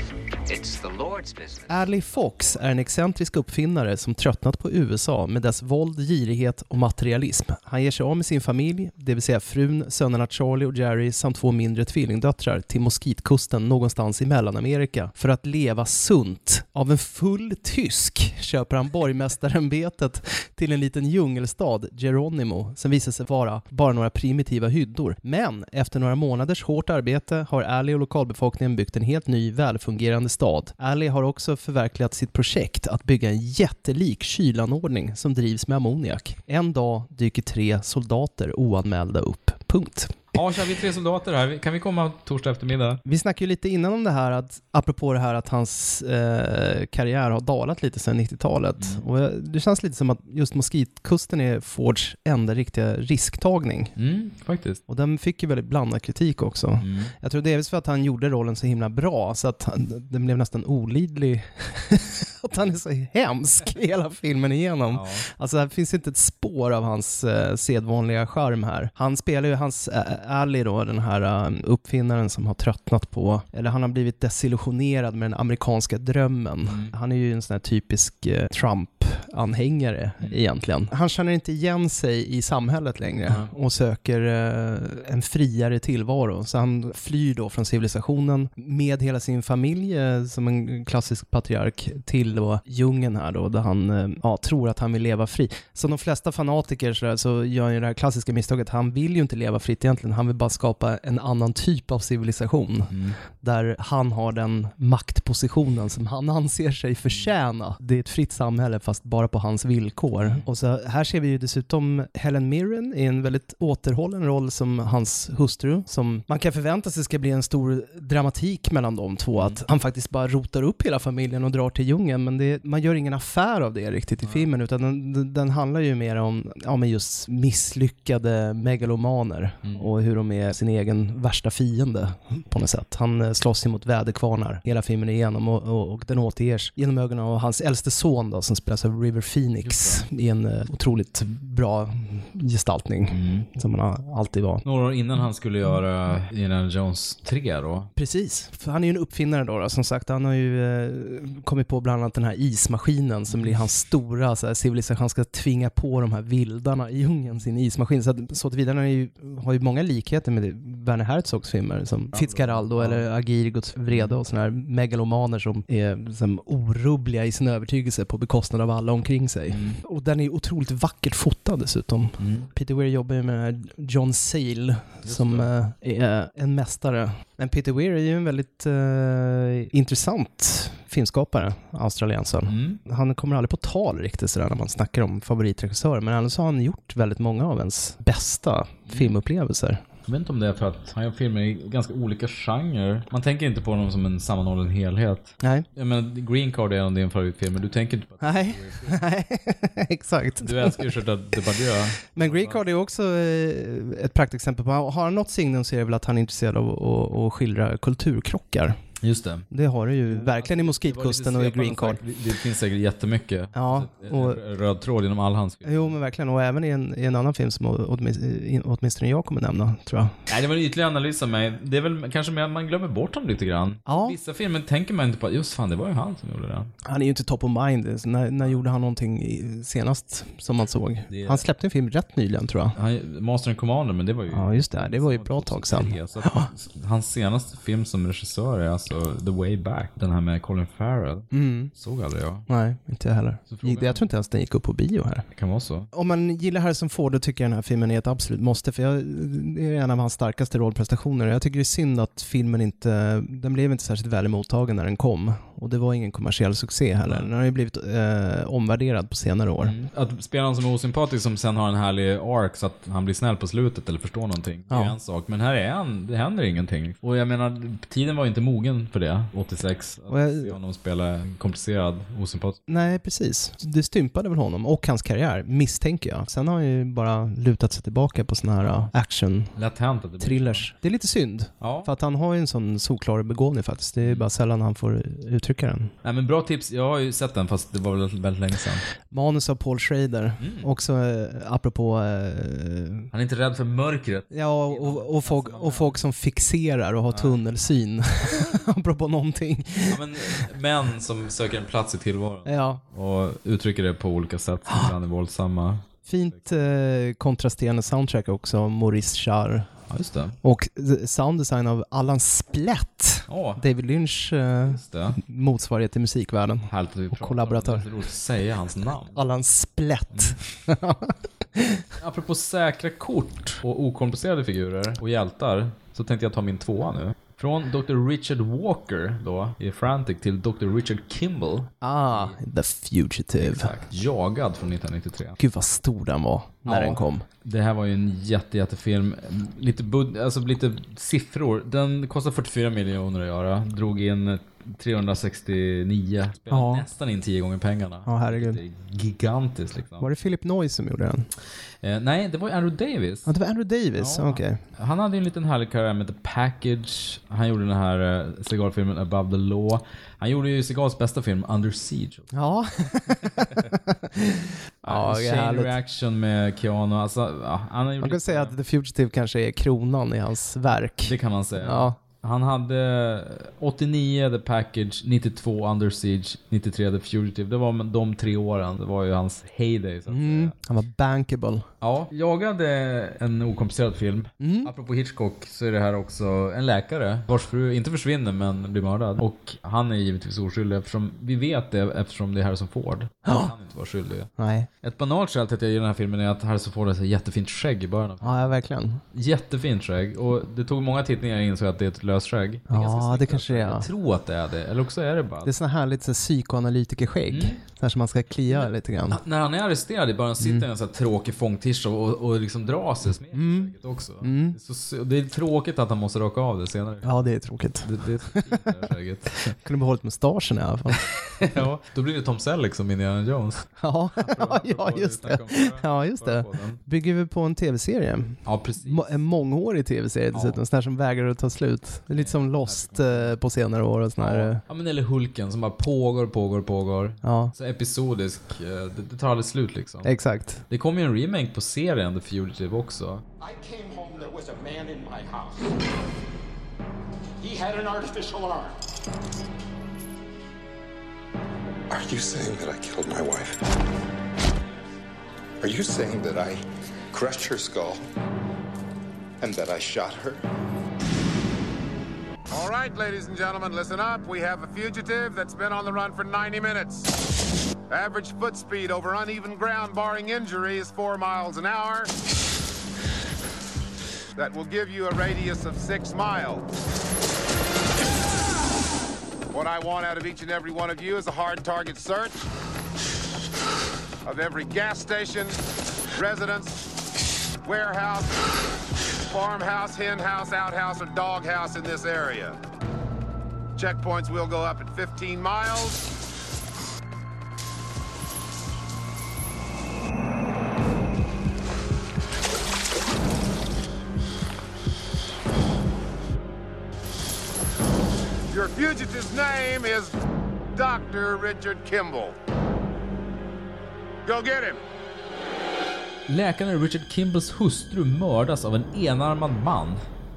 Speaker 11: It's the Lord's business.
Speaker 2: Ally Fox är en excentrisk uppfinnare som tröttnat på USA med dess våld, girighet och materialism. Han ger sig av med sin familj, det vill säga frun, sönerna Charlie och Jerry samt två mindre tvillingdöttrar till Moskitkusten någonstans i Mellanamerika för att leva sunt. Av en full tysk köper han borgmästarämbetet till en liten djungelstad, Geronimo, som visar sig vara bara några primitiva hyddor. Men efter några månaders hårt arbete har Ally och lokalbefolkningen byggt en helt ny välfungerande stad. Ally har också förverkligat sitt projekt att bygga en jättelik kylanordning som drivs med ammoniak. En dag dyker tre soldater oanmälda upp. Punkt.
Speaker 1: Ja, kör vi tre soldater här. Kan vi komma torsdag eftermiddag?
Speaker 2: Vi snackade ju lite innan om det här, att, apropå det här att hans eh, karriär har dalat lite sedan 90-talet. Och jag- det känns lite som att just Moskitkusten är Fords enda riktiga risktagning.
Speaker 1: Mm, faktiskt.
Speaker 2: Och den fick ju väldigt blandad kritik också. Jag tror delvis för att han gjorde rollen så himla bra, så att han, den blev nästan olidlig. att han är så hemsk hela filmen igenom. Alltså, det finns inte ett spår av hans eh, sedvanliga charm här. Han spelar ju hans eh, Ally då, den här eh, uppfinnaren som har tröttnat på, eller han har blivit desillusionerad med den amerikanska drömmen. Han är ju en sån här typisk eh, Trump-anhängare egentligen. Han känner inte igen sig i samhället längre och söker eh, en friare tillvaro. Så han flyr då från civilisationen med hela sin familj eh, som en klassisk patriark till då djungeln här då, där han eh, ja, tror att han vill leva fri. Som de flesta fanatiker så, där, så gör han ju det här klassiska misstaget, han vill ju inte leva fritt egentligen, han vill bara skapa en annan typ av civilisation där han har den maktpositionen som han anser sig förtjäna. Det är ett fritt samhälle fast bara på hans villkor. Och så här ser vi ju dessutom Helen Mirren i en väldigt återhållen roll som hans hustru som man kan förvänta sig ska bli en stor dramatik mellan de två. Att han faktiskt bara rotar upp hela familjen och drar till djungeln men det, man gör ingen affär av det riktigt i filmen utan den, den handlar ju mer om ja, men just misslyckade megalomaner och hur de är sin egen värsta fiende på något sätt. Han eh, slåss ju mot väderkvarnar hela filmen igenom och, och, och den återges genom ögonen av hans äldste son då, som spelas av River Phoenix i en eh, otroligt bra gestaltning som han alltid var.
Speaker 1: Några år innan han skulle göra Indiana Jones 3 då.
Speaker 2: Precis. För han är ju en uppfinnare då, då. Som sagt, han har ju eh, kommit på bland annat den här ismaskinen som blir hans stora så här, civilisation. Han ska tvinga på de här vildarna i djungeln sin ismaskin. Så, att, så att vidare är ju, har ju många likheter med det- Werner Herzogs filmer som Fitzcarraldo eller Agir i Guds vrede och sådana här megalomaner som är som, orubbliga i sin övertygelse på bekostnad av alla omkring sig. Och den är ju otroligt vackert fotad dessutom.
Speaker 1: Mm.
Speaker 2: Peter Weir jobbar ju med den här John Sale som eh, är en mästare. Men Peter Weir är ju en väldigt eh, intressant filmskapare, australiensaren. Han kommer aldrig på tal riktigt sådär när man snackar om favoritregissörer, men annars har han gjort väldigt många av ens bästa filmupplevelser.
Speaker 1: Jag vet inte om det är för att han gör filmer i ganska olika genrer. Man tänker inte på honom som en sammanhållen helhet.
Speaker 2: Nej.
Speaker 1: Jag menar, Green Card är en av dina favoritfilmer. Du tänker inte på att
Speaker 2: Nej, nej, exakt.
Speaker 1: du älskar ju Charlotte Depardieu.
Speaker 2: Men Grey Card är också eh, ett praktexempel på, har han något signum så är det väl att han är intresserad av att- att skildra kulturkrockar.
Speaker 1: Just det.
Speaker 2: Det har du ju verkligen i Moskitkusten och i Green Card.
Speaker 1: Det, det finns säkert jättemycket.
Speaker 2: Ja, och-
Speaker 1: Röd tråd genom all hans film.
Speaker 2: Jo men verkligen, och även i en, i en annan film som åtminstone, åtminstone jag kommer nämna, tror jag.
Speaker 1: Nej, det var en ytlig analys av mig. Det är väl kanske mer att man glömmer bort honom lite grann. Vissa filmer tänker man inte på, just fan det var ju han som gjorde det.
Speaker 2: Han är ju inte top of mind. Så När, när gjorde han någonting i- senast som man såg?
Speaker 1: Det-
Speaker 2: Han släppte en film rätt nyligen tror jag.
Speaker 1: Han, Master and Commander, men det var ju...
Speaker 2: Ja just det, det var ju ett bra tag sedan.
Speaker 1: Så att, hans senaste film som regissör är alltså The Way Back, den här med Colin Farrell.
Speaker 2: Mm.
Speaker 1: Såg aldrig jag.
Speaker 2: Nej, inte jag heller. Jag tror inte ens den gick upp på bio här.
Speaker 1: Det kan vara så.
Speaker 2: Om man gillar Harrison Ford då tycker jag den här filmen är ett absolut måste, för jag, det är en av hans starkaste rollprestationer. Jag tycker det är synd att filmen inte, den blev inte särskilt väl mottagen när den kom. Och det var ingen kommersiell succé heller. Den har ju blivit eh, omvärderad på senare år.
Speaker 1: Att spela någon som är osympatisk som sen har en härlig arc så att han blir snäll på slutet eller förstår någonting. Det är
Speaker 2: Ja.
Speaker 1: en sak. Men här är han, det händer ingenting. Och jag menar, tiden var ju inte mogen för det, 86. Att
Speaker 2: Och jag-
Speaker 1: se honom spela komplicerad, osympatisk.
Speaker 2: Nej, precis. Det stympade väl honom och hans karriär, misstänker jag. Sen har han ju bara lutat sig tillbaka på såna här eh, action
Speaker 1: Lätt hänt att det blir
Speaker 2: thrillers. Det är lite synd,
Speaker 1: Ja.
Speaker 2: för att han har ju en sån solklar begåvning faktiskt. Det är bara sällan han får ut uttrycka den.
Speaker 1: Nej men bra tips. Jag har ju sett den fast det var väl väldigt länge sedan.
Speaker 2: Manus av Paul Schrader, också eh, apropå... Eh,
Speaker 1: Han är inte rädd för mörkret.
Speaker 2: ja, och, och, folk, och folk som fixerar och har tunnelsyn, apropå någonting.
Speaker 1: Ja, men, män som söker en plats i tillvaron.
Speaker 2: Ja.
Speaker 1: Och uttrycker det på olika sätt. Ibland är våldsamma.
Speaker 2: Fint eh, kontrasterande soundtrack också, av Maurice Char.
Speaker 1: Ja, just det.
Speaker 2: Och eh, sounddesign av Alan Splatt,
Speaker 1: Ja.
Speaker 2: David Lynch eh,
Speaker 1: det.
Speaker 2: motsvarighet till musikvärlden.
Speaker 1: Härligt att vi pratar om
Speaker 2: kollaboratör.
Speaker 1: det. Det är roligt att säga hans namn.
Speaker 2: Alan Splatt.
Speaker 1: Apropå säkra kort och okomplicerade figurer och hjältar så tänkte jag ta min tvåa nu. Från Dr. Richard Walker då i Frantic till Dr. Richard Kimball.
Speaker 2: Ah, The Fugitive.
Speaker 1: Jagad från 1993.
Speaker 2: Gud vad stor den var när
Speaker 1: Ja.
Speaker 2: den kom.
Speaker 1: Det här var ju en jätte, jättefilm. Lite, bud- alltså lite siffror. Den kostade 44 miljoner att göra. Drog in 369. Spelade
Speaker 2: Ja.
Speaker 1: nästan in 10 gånger pengarna.
Speaker 2: Ja, herregud.
Speaker 1: Det är gigantiskt liksom.
Speaker 2: Var det Philip Noy som gjorde den?
Speaker 1: Eh, nej, det var ju Andrew Davis.
Speaker 2: Ja, det var Andrew Davis.
Speaker 1: Ja.
Speaker 2: Okej.
Speaker 1: Han hade ju en liten härlig karriär med The Package. Han gjorde den här eh, cigarrfilmen Above the Law. Han gjorde ju cigars bästa film Under Siege.
Speaker 2: Ja. ja, det är
Speaker 1: Chain
Speaker 2: härligt.
Speaker 1: Reaction med Keanu. Alltså, ja, han har gjort
Speaker 2: Man kan
Speaker 1: lite-
Speaker 2: säga att The Fugitive kanske är kronan i hans verk.
Speaker 1: Det kan man säga.
Speaker 2: Ja.
Speaker 1: Han hade 89 The Package, 92 Under Siege, 93 The Fugitive. Det var de tre åren. Det var ju hans heyday. Så. att
Speaker 2: Mm. Han var bankable.
Speaker 1: Ja, jagade en okomplicerad film.
Speaker 2: Mm.
Speaker 1: Apropå Hitchcock så är det här också en läkare vars fru inte försvinner men blir mördad. Och han är givetvis oskyldig eftersom vi vet det eftersom det är Harrison Ford. Han kan inte vara skyldig.
Speaker 2: Nej.
Speaker 1: Ett banalt skäl till att jag gillar den här filmen är att Harrison Ford har ett jättefint skägg i början. av filmen.
Speaker 2: Ja, ja verkligen.
Speaker 1: Jättefint skägg och det tog många tittningar innan jag insåg att det är ett löst skägg. Det är ganska
Speaker 2: Ja,
Speaker 1: snyggt
Speaker 2: det kanske det är.
Speaker 1: jag tror att det är det, eller också är det bara...
Speaker 2: Det är såna härligt så här, psykoanalytikerskägg.
Speaker 1: Mm.
Speaker 2: Så här som man ska klia lite grann.
Speaker 1: När han är arresterad i början sitter han i en sån här tråkig fångtisha och, och liksom drar sig med säkert också. Det, är så, sy- det är tråkigt att han måste raka av det senare.
Speaker 2: Ja, det är tråkigt.
Speaker 1: Det, det är så fint det här skägget.
Speaker 2: Kunde behållit mustaschen i alla fall.
Speaker 1: ja, då blir det Tom Selleck som Indiana Jones.
Speaker 2: Ja, ja
Speaker 1: Apropå
Speaker 2: just det.
Speaker 1: snackade om förra-
Speaker 2: Ja, just
Speaker 1: förra
Speaker 2: det.
Speaker 1: podden.
Speaker 2: Bygger vi på en tv-serie?
Speaker 1: Ja, precis.
Speaker 2: Må- En mångårig tv-serie dessutom, sån här som vägrar att ta slut. Det är lite som Lost eh, på senare år och sån här. eh,
Speaker 1: Ja, men eller Hulken som bara pågår, pågår, pågår.
Speaker 2: Ja,
Speaker 1: Så episodisk. eh, Det, det tar aldrig slut liksom.
Speaker 2: exakt.
Speaker 1: Det kom ju en remake på serien The Fugitive också.
Speaker 6: I came home, there was a man in my house. He had an artificial arm.
Speaker 3: Are you saying that I killed my wife? Are you saying that I crushed her skull? And that I shot her?
Speaker 12: All right, ladies and gentlemen, listen up. We have a fugitive that's been on the run for 90 minutes. Average foot speed over uneven ground, barring injury, is four miles an hour. That will give you a radius of six miles. What I want out of each and every one of you is a hard target search of every gas station, residence, warehouse, farmhouse, hen house, outhouse, or dog house in this area. Checkpoints will go up at 15 miles. Your fugitive's name is Dr. Richard Kimball. Go get him.
Speaker 1: Läkaren Richard Kimballs hustru mördas av en enarmad man.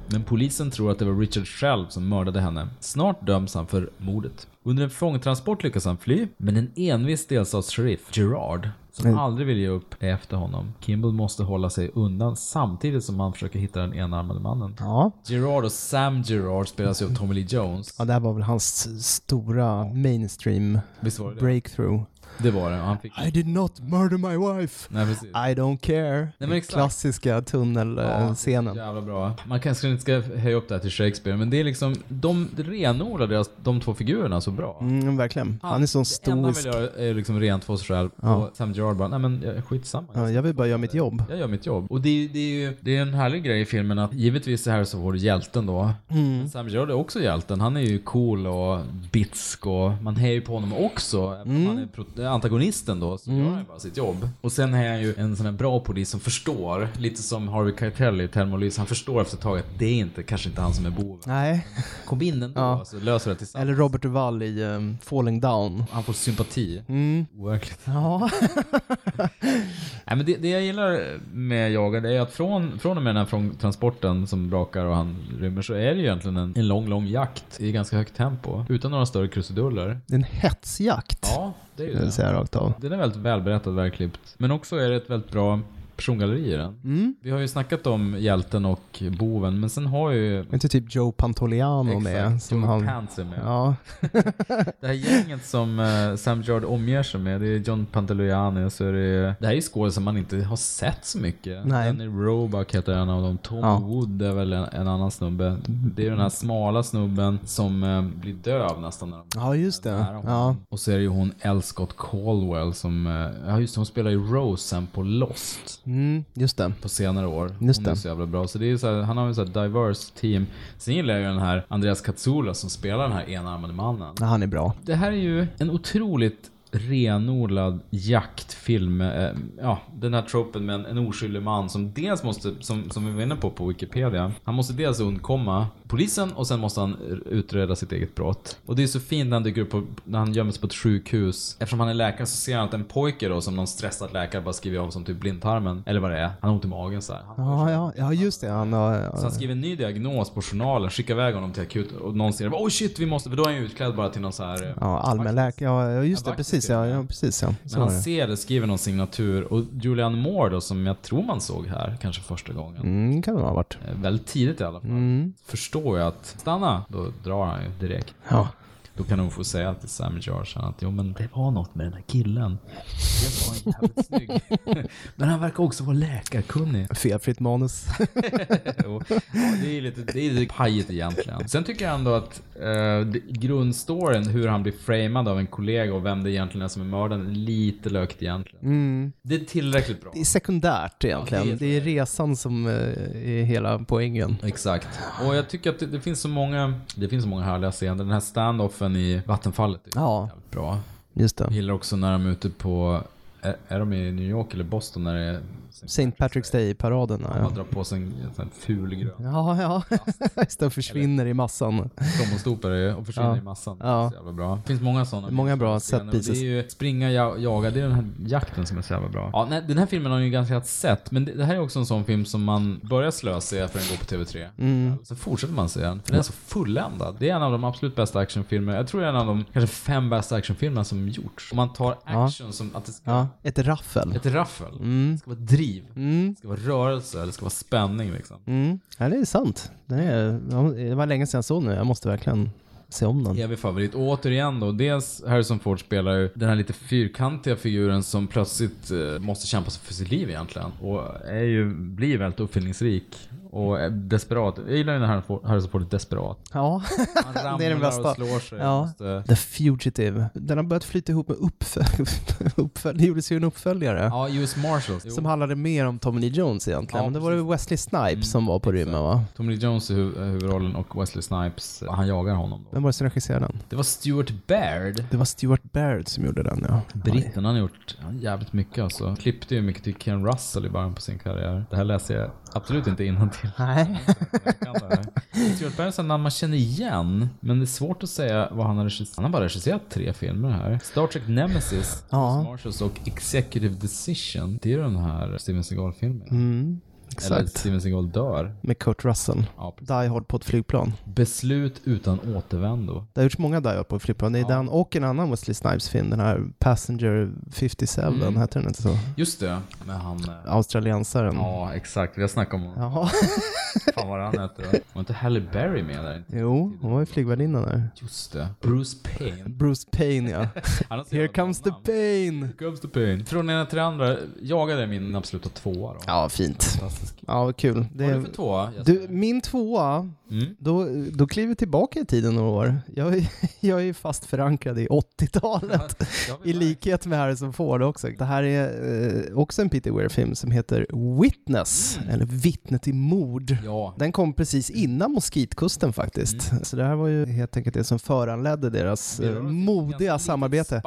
Speaker 1: Men polisen tror att det var Richard själv som mördade henne. Snart döms han för mordet. Under en fångtransport lyckas han fly, men en envis delstatssheriff, Gerard, som aldrig vill ge upp, är efter honom. Kimball måste hålla sig undan samtidigt som han försöker hitta den enarmade mannen.
Speaker 2: Ja.
Speaker 1: Gerard och Sam Gerard spelas ju av Tommy Lee Jones.
Speaker 2: ja, det här var väl hans s- stora mainstream
Speaker 1: Visst var det det?
Speaker 2: breakthrough.
Speaker 1: Det var det, och han fick...
Speaker 2: I did not murder my wife.
Speaker 1: Nej, precis.
Speaker 2: I don't care.
Speaker 1: men exakt.
Speaker 2: Klassiska tunnelscenen.
Speaker 1: Jävla bra. Man kanske inte ska höja upp det här till Shakespeare, men det är liksom, de renodlar deras, de två figurerna så bra.
Speaker 2: Mm, verkligen. Han är sån
Speaker 1: Det enda han vill
Speaker 2: stoisk.
Speaker 1: göra är liksom rent för sig själv. Och Sam Gerard bara, nej men jag- skitsamma.
Speaker 2: Ja, jag vill bara göra mitt jobb.
Speaker 1: Jag gör mitt jobb. Och det, är- det är ju det är en härlig grej i filmen att givetvis är Harrison Ford hjälten då.
Speaker 2: Mm.
Speaker 1: Men Sam Gerard är
Speaker 2: Mm.
Speaker 1: också hjälten. Han är ju cool och bitsk och man hejar ju på honom också. Även om Han är pro, antagonisten då, som gör bara sitt jobb. Och sen är han ju en sån här bra polis som förstår, lite som Harvey Keitel i Thelma och Louise, han förstår efter ett tag att det är inte, kanske inte han som är boven.
Speaker 2: Nej.
Speaker 1: Kom in ändå,
Speaker 2: Ja.
Speaker 1: så löser det tillsammans.
Speaker 2: Eller Robert Duvall i ehm, Falling Down.
Speaker 1: Han får sympati.
Speaker 2: Mm.
Speaker 1: Overkligt.
Speaker 2: Ja.
Speaker 1: Nej, men det, det jag gillar med Jagar det är att från, från och med den här från transporten som brakar och han rymmer så är det ju egentligen en, en lång, lång jakt i ganska högt tempo. Utan några större krusiduller.
Speaker 2: Det är en hetsjakt.
Speaker 1: Ja, det är ju
Speaker 2: Det vill säga
Speaker 1: det.
Speaker 2: rakt av.
Speaker 1: Den är väldigt välberättad, välklippt. Men också är det ett väldigt bra persongalleri i den.
Speaker 2: Mm.
Speaker 1: Vi har ju snackat om hjälten och boven, men sen har ju
Speaker 2: Är inte typ Joe Pantoliano med?
Speaker 1: Exakt,
Speaker 2: Som
Speaker 1: Joe
Speaker 2: han...
Speaker 1: Pants är med.
Speaker 2: Ja.
Speaker 1: Det här gänget som eh, Sam Gerard omger sig med, det är John Pantoliani och så är det... Det här är ju skådespelare som man inte har sett så mycket.
Speaker 2: Nej.
Speaker 1: Danny Roebuck heter en av dem. Tom
Speaker 2: Ja.
Speaker 1: Wood är väl en, en annan snubbe. Det är den här smala snubben som eh, blir döv nästan när de
Speaker 2: ja, just det.
Speaker 1: nära honom.
Speaker 2: Ja.
Speaker 1: Och så är det ju hon L. Scott Caldwell som... eh, Ja just det, hon spelar ju Rose sen på Lost
Speaker 2: Mm, just det.
Speaker 1: på senare år.
Speaker 2: Just
Speaker 1: Hon är
Speaker 2: det.
Speaker 1: så jävla bra. Så det är ju så här, han har ju så här diverse team. Sen gillar jag ju den här Andreas Katsula som spelar den här enarmade mannen.
Speaker 2: Ja, han är bra.
Speaker 1: Det här är ju en otroligt renodlad jaktfilm. eh, Ja, den här tropen med en, en oskyldig man som dels måste, som, som vi var inne på på Wikipedia, han måste dels undkomma polisen och sen måste han utreda sitt eget brott. Och det är så fint när han dyker upp på, när han gömmer sig på ett sjukhus. Eftersom han är läkare så ser han att en pojke då som någon stressad läkare bara skriver om som typ blindtarmen, eller vad det är, han har ont i magen så här. Han
Speaker 2: Ja, ja, ja just det. Han har...
Speaker 1: så han skriver en ny diagnos på journalen, skickar iväg honom till akut och någon ser bara, oh shit vi måste, för då är han ju utklädd bara till någon så här eh,
Speaker 2: Ja, allmänläkare. Ja, ja,
Speaker 1: Ja,
Speaker 2: just det.
Speaker 1: vaktis
Speaker 2: Precis.
Speaker 1: är
Speaker 2: Ja,
Speaker 1: det.
Speaker 2: ja, precis ja. Så
Speaker 1: Men han
Speaker 2: var det.
Speaker 1: ser det, skriver någon signatur och Julian Moore då som jag tror man såg här kanske första gången.
Speaker 2: Mm, kan det ha varit.
Speaker 1: Eh, Väldigt tidigt i alla fall.
Speaker 2: Mm.
Speaker 1: Förstår jag att stanna, då drar han ju direkt.
Speaker 2: Ja.
Speaker 1: Då kan hon få säga till Sam George sen att jo men det var något med den här killen. Det var en jävligt snygg. men han verkar också vara läkarkunnig.
Speaker 2: Felfritt manus.
Speaker 1: Jo. ja, det är lite, det är lite pajigt egentligen. Sen tycker jag ändå att eh, det- grundstoryn, hur han blir framad av en kollega och vem det egentligen är som är mördaren, är lite lökt egentligen.
Speaker 2: Mm.
Speaker 1: Det är tillräckligt bra.
Speaker 2: Det är sekundärt egentligen.
Speaker 1: Ja, det
Speaker 2: det, är... resan som eh, är hela poängen.
Speaker 1: Exakt. Och jag tycker att det, det finns så många, det finns så många härliga scener. Den här standoffen i vattenfallet är
Speaker 2: Ja,
Speaker 1: jävligt bra.
Speaker 2: just
Speaker 1: Jag
Speaker 2: det.
Speaker 1: gillar också när de är ute på, är, är de i New York eller Boston när det är
Speaker 2: St. Patrick's Day-paraden.
Speaker 1: man
Speaker 2: Ja,
Speaker 1: drar på sig en, en sån här ful grön
Speaker 2: ja. ja. Just det, försvinner i massan.
Speaker 1: Plommonstopar är ju- och försvinner
Speaker 2: Ja.
Speaker 1: i massan.
Speaker 2: Ja.
Speaker 1: Det är så jävla bra. Det finns många sådana.
Speaker 2: Många bra
Speaker 1: scener. Och
Speaker 2: set pieces.
Speaker 1: Det är ju springa, ja- jaga, det är den här jakten som är så jävla bra. Ja, nej, den här filmen har ju ganska sett, men det, det här är också en sån film som man börjar slösa för den går på TV3.
Speaker 2: Mm.
Speaker 1: Sen fortsätter man se den, för den är så fulländad. Det är en av de absolut bästa actionfilmer, jag tror det är en av de kanske fem bästa actionfilmerna som gjorts. Om man tar action som att det ska
Speaker 2: Ja. Mm. Ett raffel.
Speaker 1: ett raffel, det ska vara driv, det ska vara rörelse, det ska vara spänning liksom.
Speaker 2: Mm. Ja, det är sant. Det, är, ja, det var länge sedan jag såg nu. Jag måste verkligen se om den.
Speaker 1: Evig favorit. Och återigen då, dels Harrison Ford spelar ju den här lite fyrkantiga figuren som plötsligt eh, måste kämpa för sitt liv egentligen. Och är ju, blir väldigt uppfinningsrik. Och är desperat. Jag gillar ju när Harrison Ford- Harrison Ford är desperat.
Speaker 2: Ja,
Speaker 1: Han ramlar
Speaker 2: det är den
Speaker 1: och
Speaker 2: bästa.
Speaker 1: slår sig.
Speaker 2: Ja.
Speaker 1: Måste...
Speaker 2: The Fugitive. Den har börjat flyta ihop med uppföljare. Uppfölj- det gjordes ju en uppföljare.
Speaker 1: Ja, US Marshals. Jo.
Speaker 2: Som handlade mer om Tommy Lee Jones egentligen.
Speaker 1: Ja, Mm,
Speaker 2: Men det var det Wesley Snipes som var på rymmen va?
Speaker 1: Tommy Lee Jones i hu- eh, huvudrollen och Wesley Snipes, eh, han jagar honom då.
Speaker 2: Vem var det som regisserade den?
Speaker 1: Det var Stuart Baird.
Speaker 2: Det var Stuart Baird som gjorde den ja.
Speaker 1: Britten han har gjort han, jävligt mycket alltså. Klippte ju mycket till Ken Russell i början på sin karriär. Det här läser jag absolut inte innantill.
Speaker 2: Nej.
Speaker 1: Stuart Barry är namn man känner igen, men det är svårt att säga vad han har regisserat. Han har bara regisserat tre filmer här. Star Trek Nemesis,
Speaker 2: Ja.
Speaker 1: Marshalls och Executive Decision. Det är den här Steven Seagal-filmen.
Speaker 2: Mm,
Speaker 1: Eller
Speaker 2: exakt.
Speaker 1: Steven Seagal dör.
Speaker 2: Med Kurt Russell.
Speaker 1: Ja, precis.
Speaker 2: Die Hard på ett flygplan.
Speaker 1: Beslut utan återvändo.
Speaker 2: Det har gjorts många Die Hard på ett flygplan. Det är den och en annan Wesley Snipes-film, den här Passenger 57,
Speaker 1: Mm.
Speaker 2: heter den inte så?
Speaker 1: Just det, med han... eh,
Speaker 2: Australiensaren.
Speaker 1: Ja, exakt. Vi har snackat om honom.
Speaker 2: Jaha.
Speaker 1: Fan vad han heter. då. Var inte Halle Berry med där?
Speaker 2: Jo, hon var ju flygvärdinna där.
Speaker 1: Just det. Bruce Payne.
Speaker 2: Bruce Payne ja.
Speaker 1: Han har så
Speaker 2: Here
Speaker 1: jävla
Speaker 2: comes the
Speaker 1: bra namn.
Speaker 2: pain!
Speaker 1: Here comes the pain. Från ena till det andra. Jagade är min absoluta tvåa då.
Speaker 2: Ja, fint.
Speaker 1: Fantastisk.
Speaker 2: Ja, vad kul. Det
Speaker 1: Vad är
Speaker 2: är...
Speaker 1: det för tvåa? Mm. Jesper?
Speaker 2: Du, min tvåa, Då, då kliver vi tillbaka i tiden några år. Jag, är- jag är ju fast förankrad i 80-talet, i likhet med Harrison Ford också. Det här är eh, också en Peter Weir-film som heter Witness, eller Vittne till mord. Den kom precis innan Moskitkusten faktiskt. Så det här var ju helt enkelt det som föranledde deras eh, modiga samarbete.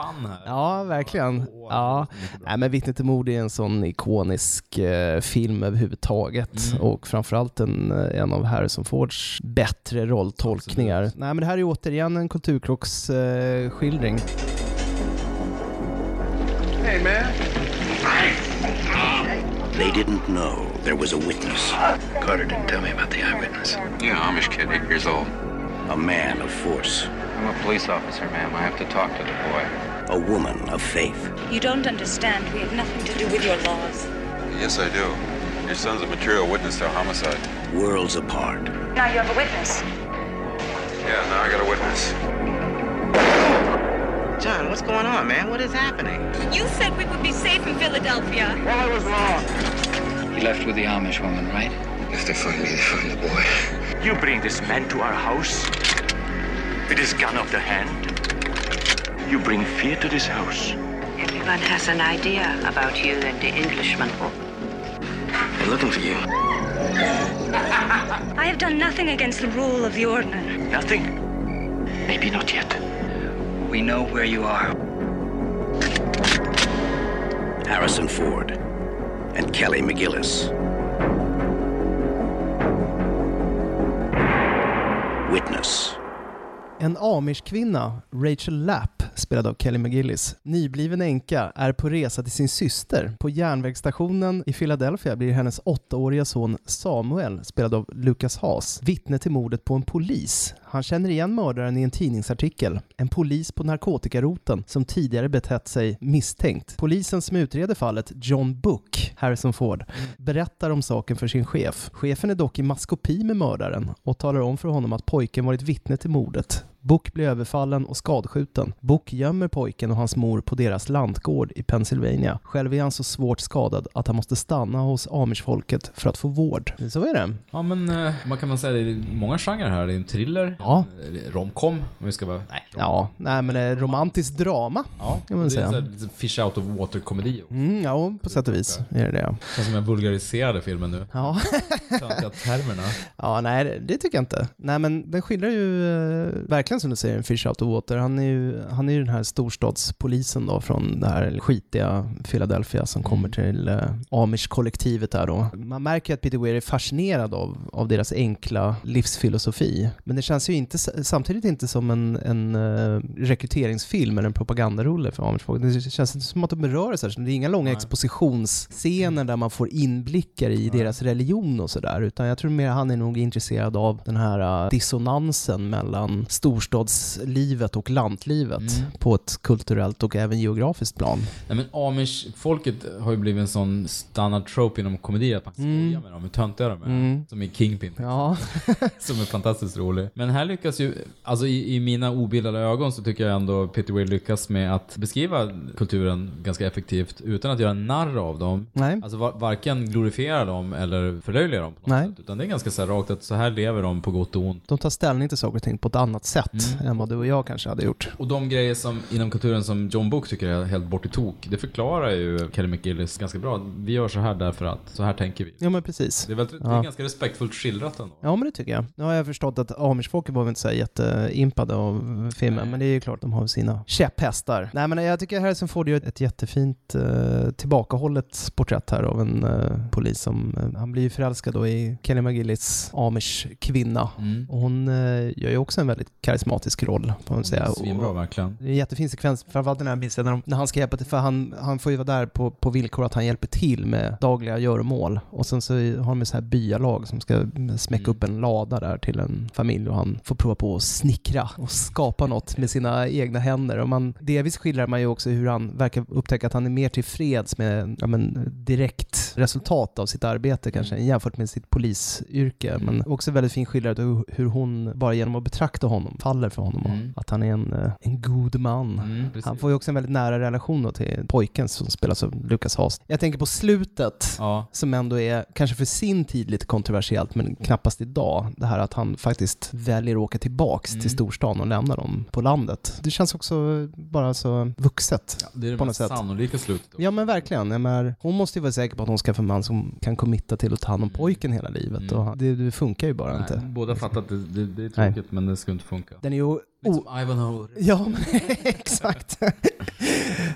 Speaker 2: Ja, verkligen. Ja. Nej, men Vittne till mord är en sån ikonisk eh, film överhuvudtaget och framförallt en, eh, en av Harrison Fords bättre rolltolkningar. Nej, men det här är återigen en kulturkrocksskildring. Eh, skildring.
Speaker 12: Hey, man.
Speaker 7: They didn't know there was a witness. Carter didn't tell me about the eyewitness.
Speaker 11: Yeah, Amish kid, eight years old.
Speaker 7: A man of force,
Speaker 11: I'm a police officer, ma'am. I have to talk to the
Speaker 7: a woman of faith.
Speaker 10: You don't understand. We have nothing to do with your laws.
Speaker 13: Yes, I do. Your son's a material witness to a homicide.
Speaker 7: Worlds apart.
Speaker 10: Now you have a witness.
Speaker 13: Yeah, now I got a witness.
Speaker 10: John, what's going on, man? What is happening? You said we would be safe in Philadelphia. Well, I was wrong.
Speaker 11: boy. He left with the Amish woman, right? If they find me, they find the boy. You bring this man to our house.
Speaker 14: It is gun of the hand. You bring fear to this house.
Speaker 10: Everyone has an idea about you and the Englishman.
Speaker 14: They're looking for you.
Speaker 10: I have done nothing against the rule of the ordinance.
Speaker 11: Nothing. Maybe not yet. We know where you are.
Speaker 7: Harrison Ford and Kelly McGillis. Witness.
Speaker 2: En amerskvinna, Rachel Lapp, spelad av Kelly McGillis, nybliven änka, är på resa till sin syster. På järnvägsstationen i Philadelphia blir hennes åttaåriga son Samuel, spelad av Lucas Haas, vittne till mordet på en polis. Han känner igen mördaren i en tidningsartikel. En polis på narkotikaroten som tidigare betett sig misstänkt. Polisen som utreder fallet, John Book, Harrison Ford, berättar om saken för sin chef. Chefen är dock i maskopi med mördaren och talar om för honom att pojken varit vittne till mordet. Book blir överfallen och skadskjuten. Book gömmer pojken och hans mor på deras lantgård i Pennsylvania. Själv är han så svårt skadad att han måste stanna hos amishfolket för att få vård. Så är det.
Speaker 1: Ja men eh, man kan man säga det är många genrer här. Det är en thriller,
Speaker 2: Ja.
Speaker 1: en eh, romcom om vi ska vara... Nej.
Speaker 2: Ja, nej men eh, romantiskt drama kan man
Speaker 1: det är en
Speaker 2: säga.
Speaker 1: sån här fish out of water komedi.
Speaker 2: Mm, ja, på sätt och vis är det det. ja.
Speaker 1: Känns som jag vulgariserade filmen nu.
Speaker 2: Ja.
Speaker 1: Töntiga termerna.
Speaker 2: Ja, nej, det- det tycker jag inte. Nej, men den skildrar ju eh, verkligen som du säger en fish out of water. Han är ju, han är ju den här storstadspolisen då från det här skitiga Philadelphia som kommer till eh, Amish-kollektivet där då. Man märker att Peter Weir är fascinerad av, av deras enkla livsfilosofi. Men det känns ju inte, s- samtidigt inte som en, en eh, rekryteringsfilm eller en propagandarulle för Amish-folk. Det känns inte som att de berör sig. Det är inga långa expositionsscener där man får inblickar i deras religion och sådär. Utan jag tror mer han är nog intresserad av den här eh, dissonansen mellan storstadslivet och lantlivet på ett kulturellt och även geografiskt plan.
Speaker 1: Nej men amish-folket har ju blivit en sån standard trope inom komedi att man skojar med dem, hur töntiga de är.
Speaker 2: Mm.
Speaker 1: Som i Kingpin. liksom.
Speaker 2: Ja.
Speaker 1: som är fantastiskt rolig. Men här lyckas ju, alltså i, i mina obildade ögon så tycker jag ändå Peter Weir lyckas med att beskriva kulturen ganska effektivt utan att göra narr av dem.
Speaker 2: Nej.
Speaker 1: Alltså va- varken glorifiera dem eller förlöjliga dem. På något
Speaker 2: Nej.
Speaker 1: Sätt. Utan det är ganska så här rakt att så här lever de på gott och ont.
Speaker 2: De tar ställning till saker och ting på ett annat sätt än vad du och jag kanske hade gjort.
Speaker 1: Och de grejer som inom kulturen som John Book tycker är helt bort i tok, det förklarar ju Kelly McGillis ganska bra. Vi gör så här därför att, så här tänker vi.
Speaker 2: Ja, men precis.
Speaker 1: Det är, väldigt, det
Speaker 2: Ja.
Speaker 1: är ganska respektfullt skildrat ändå.
Speaker 2: Ja, men det tycker jag. Nu har jag förstått att Amish-folket var väl inte så här jätteimpade av filmen, men det är ju klart de har sina käpphästar. Nej, men jag tycker Harrison Ford gör ett jättefint eh, tillbakahållet porträtt här av en eh, polis som, eh, han blir ju förälskad då i Kelly McGillis Amish-kvinna.
Speaker 1: Mm.
Speaker 2: Och hon eh, gör ju också en väldigt karismatisk roll, får man säga.
Speaker 1: Svinbra verkligen.
Speaker 2: Det är en jättefin sekvens, framförallt den här minns jag när, de, när han ska hjälpa till, för han, han får ju vara där på, på villkor att han hjälper till med dagliga göromål. Och sen så har de ett så här byalag som ska smäcka upp en lada där till en familj och han får prova på att snickra och skapa något med sina egna händer. Och man, delvis skildrar man ju också hur han verkar upptäcka att han är mer tillfreds med ja, men, direkt resultat av sitt arbete kanske jämfört med sitt polisyrke. Men också väldigt fin skildrat hur hur hon bara genom att betrakta honom, fast faller för honom. och Att han är en, eh, en god man.
Speaker 1: Mm,
Speaker 2: han får ju också en väldigt nära relation då till pojken som spelas av Lucas Haas. Jag tänker på slutet, som ändå är, kanske för sin tid, lite kontroversiellt, men knappast idag. Det här att han faktiskt väljer att åka tillbaks
Speaker 1: Mm.
Speaker 2: till storstan och lämna dem på landet. Det känns också bara så vuxet
Speaker 1: Det är det
Speaker 2: på något
Speaker 1: mest
Speaker 2: sätt.
Speaker 1: sannolika slutet.
Speaker 2: Ja men verkligen. Jag menar, hon måste ju vara säker på att hon skaffar en man som kan committa till att ta hand om pojken hela livet.
Speaker 1: Mm.
Speaker 2: Och det, det funkar ju bara inte. Liksom. Oh.
Speaker 1: Båda fattar att det, det, det är tråkigt men det ska inte funka.
Speaker 2: Den är ju...
Speaker 1: Liksom Ivanhoe.
Speaker 2: Ja, men exakt.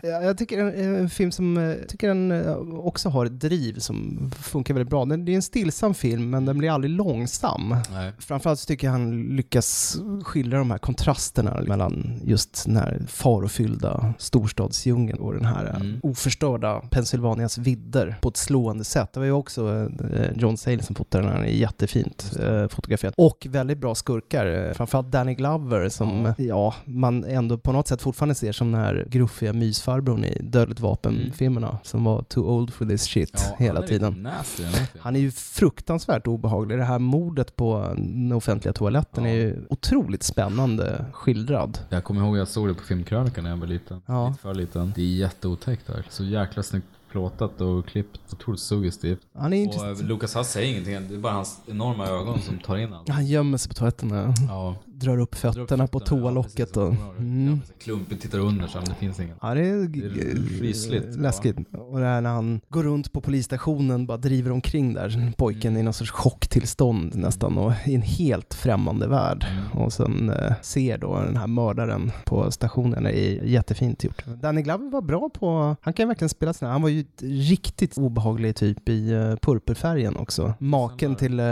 Speaker 2: Ja, jag tycker en, en film som eh, tycker den eh, också har ett driv som funkar väldigt bra. Den, det är en stillsam film, men den blir aldrig långsam.
Speaker 1: Nej.
Speaker 2: Framförallt så tycker jag han lyckas skildra de här kontrasterna mellan just den här farofyllda storstadsdjungeln och den här eh, oförstörda Pennsylvanias vidder på ett slående sätt. Det var ju också eh, John Sayles som fotade den här, den är jättefint eh, fotograferad. Och väldigt bra skurkar, eh, framförallt Danny Glover som, eh, ja, man ändå på något sätt fortfarande ser som den här gruffiga mysfarbrorn i Dödligt vapen-filmerna som var too old for this shit hela tiden.
Speaker 1: Nasty, typ. den här filmen.
Speaker 2: Han är ju fruktansvärt obehaglig. Det här mordet på den offentliga toaletten är ju otroligt spännande skildrad.
Speaker 1: Jag kommer ihåg jag såg det på filmkrönikan när jag var liten. Lite för liten. Det är jätteotäckt där. Så jäkla snyggt plåtat och klippt. Otroligt suggestivt.
Speaker 2: Han är
Speaker 1: och eh, Lucas Hass säger ingenting. Det är bara hans enorma ögon som tar in allt.
Speaker 2: Han gömmer sig på toaletten och drar upp fötterna på toalocket. Och, mm.
Speaker 1: Klumpigt tittar under så men det finns ingen.
Speaker 2: Ja, det är,
Speaker 1: Det är rysligt.
Speaker 2: läskigt. Och det här när han går runt på polisstationen, bara driver omkring där, pojken i någon sorts chocktillstånd nästan, och i en helt främmande värld. Och sen eh, ser då den här mördaren på stationen, det är jättefint gjort. Danny Glover var bra på, han kan ju verkligen spela sådana, han var ju ett riktigt obehaglig typ i eh, Purpurfärgen också. Maken till, eh,